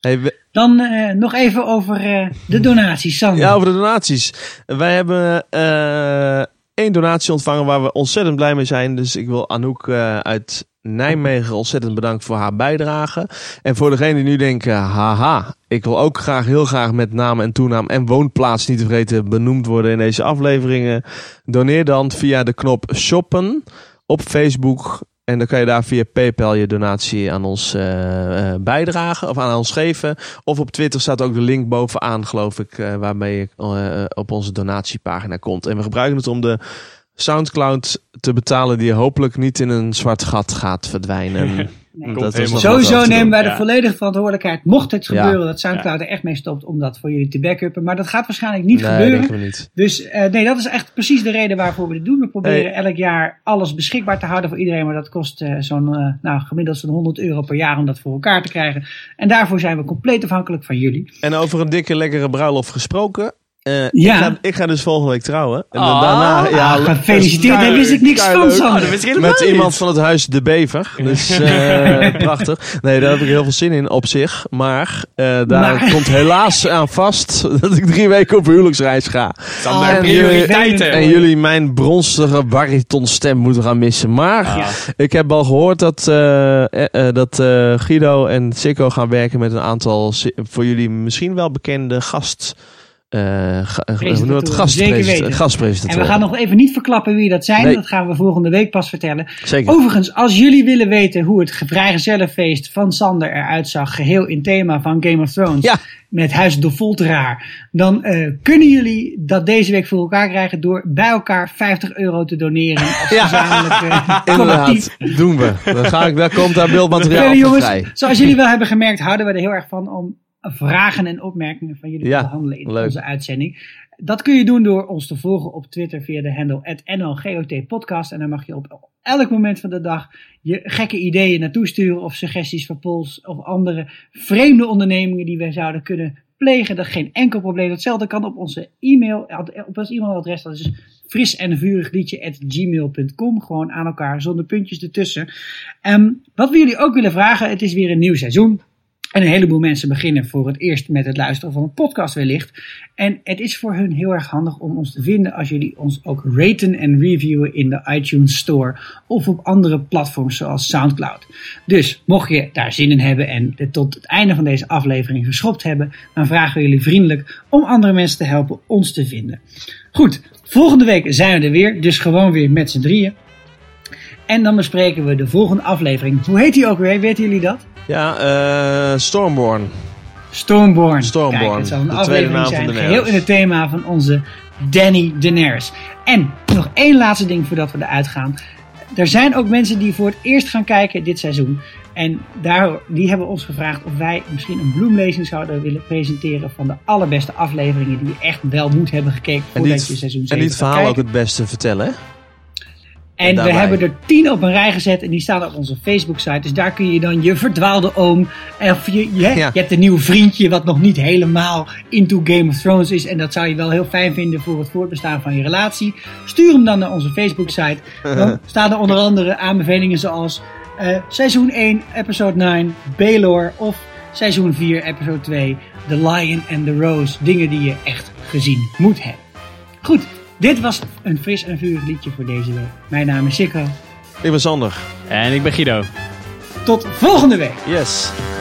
Hey, we-
Dan eh, nog even over eh, de donaties, Sander.
ja, over de donaties. Wij hebben eh, één donatie ontvangen waar we ontzettend blij mee zijn. Dus ik wil Anouk eh, uit Nijmegen ontzettend bedankt voor haar bijdrage. En voor degene die nu denken, haha, ik wil ook graag heel graag met naam en toenaam en woonplaats niet te vergeten benoemd worden in deze afleveringen. Doneer dan via de knop shoppen op Facebook. En dan kan je daar via PayPal je donatie aan ons eh, eh, bijdragen of aan ons geven. Of op Twitter staat ook de link bovenaan, geloof ik, eh, waarmee je eh, op onze donatiepagina komt. En we gebruiken het om de SoundCloud te betalen, die hopelijk niet in een zwart gat gaat verdwijnen.
Nee.
Komt
nog
helemaal
wat
goed.
over
Sowieso
te doen.
nemen wij de
Ja.
volledige verantwoordelijkheid, mocht het
Ja.
gebeuren, dat Soundcloud er echt mee stopt om dat voor jullie te backuppen. Maar dat gaat waarschijnlijk niet
nee,
gebeuren.
denken we niet.
Dus eh, nee, dat is echt precies de reden waarvoor we dit doen. We proberen elk jaar alles beschikbaar te houden voor iedereen. Maar dat kost eh, zo'n, eh, nou, gemiddeld zo'n 100 euro per jaar om dat voor elkaar te krijgen. En daarvoor zijn we compleet afhankelijk van jullie.
En over een dikke, lekkere bruiloft gesproken. Eh,
Ja.
ik, ga, ik ga dus volgende week trouwen. En
Ah.
daarna, ja,
Ah, gefeliciteerd, daar
keileuk,
wist ik niks van,
keileuk.
Sander.
Dat wist ik helemaal
Met
niet.
iemand van het huis De Bever. Dus eh, prachtig. Nee, daar heb ik heel veel zin in op zich. Maar eh, daar
Maar-
komt helaas aan vast dat ik drie weken op huwelijksreis ga.
Sander,
en
prioriteiten.
En jullie mijn bronstige baritonstem moeten gaan missen. Maar ik heb al gehoord dat, eh, eh, eh, dat eh, Guido en Sikko gaan werken met een aantal si- voor jullie misschien wel bekende gast. eh, ga- eh, hoe noem je dat?
Zeker
Gastpresenta-
weten. En
Gastpresentatoren.
we gaan nog even niet verklappen wie dat zijn.
Nee.
Dat gaan we volgende week pas vertellen.
Zeker.
Overigens, als jullie willen weten hoe het vrijgezellenfeest van Sander eruit zag, geheel in thema van Game of Thrones,
Ja.
met Huis de Folteraar, dan eh, kunnen jullie dat deze week voor elkaar krijgen door bij elkaar 50 euro te doneren als
Ja.
gezamenlijk eh, collectief.
Inderdaad, doen we. Dan ga ik, daar komt daar beeldmateriaal
Verder,
van
jongens,
vrij.
zoals jullie wel hebben gemerkt, houden we er heel erg van om vragen en opmerkingen van jullie
Ja,
te behandelen in
leuk.
onze uitzending. Dat kun je doen door ons te volgen op Twitter via de handle @nlgotpodcast en dan mag je op elk moment van de dag je gekke ideeën naartoe sturen of suggesties voor polls of andere vreemde ondernemingen die wij zouden kunnen plegen. Dat is geen enkel probleem. Hetzelfde kan op onze e-mail, op ons e-mailadres. Dat is fris en vurig liedje gmail.com. Gewoon aan elkaar, zonder puntjes ertussen. Ehm, wat we jullie ook willen vragen, het is weer een nieuw seizoen. En een heleboel mensen beginnen voor het eerst met het luisteren van een podcast wellicht. En het is voor hun heel erg handig om ons te vinden als jullie ons ook raten en reviewen in de iTunes Store of op andere platforms zoals SoundCloud. Dus mocht je daar zin in hebben en het tot het einde van deze aflevering geschopt hebben, dan vragen we jullie vriendelijk om andere mensen te helpen ons te vinden. Goed, volgende week zijn we er weer, dus gewoon weer met z'n drieën. En dan bespreken we de volgende aflevering. Hoe heet die ook weer? Weten jullie dat?
Ja, eh Stormborn.
Stormborn.
Stormborn,
Kijk, het zal een
de tweede
aflevering
naam van
zijn,
Daenerys.
geheel in het thema van onze Danny Daenerys. En nog één laatste ding voordat we eruit gaan. Er zijn ook mensen die voor het eerst gaan kijken dit seizoen. En daar, die hebben ons gevraagd of wij misschien een bloemlezing zouden willen presenteren van de allerbeste afleveringen die je echt wel moet hebben gekeken
En die,
voordat je
het-
seizoen 7
en die het
gaat
verhaal ook
kijken.
het beste vertellen. hè?
En we
daarbij.
hebben er tien op een rij gezet en die staan op onze Facebook-site. Dus daar kun je dan je verdwaalde oom, of je, je,
Ja.
je hebt een nieuw vriendje wat nog niet helemaal into Game of Thrones is. En dat zou je wel heel fijn vinden voor het voortbestaan van je relatie. Stuur hem dan naar onze Facebook-site. Dan staan er onder andere aanbevelingen zoals eh, seizoen 1, episode 9, Baelor of seizoen 4, episode 2, The Lion and the Rose. Dingen die je echt gezien moet hebben. Goed, dit was een fris en vurig liedje voor deze week. Mijn naam is Sikko.
Ik ben Sander.
En ik ben Guido.
Tot volgende week!
Yes.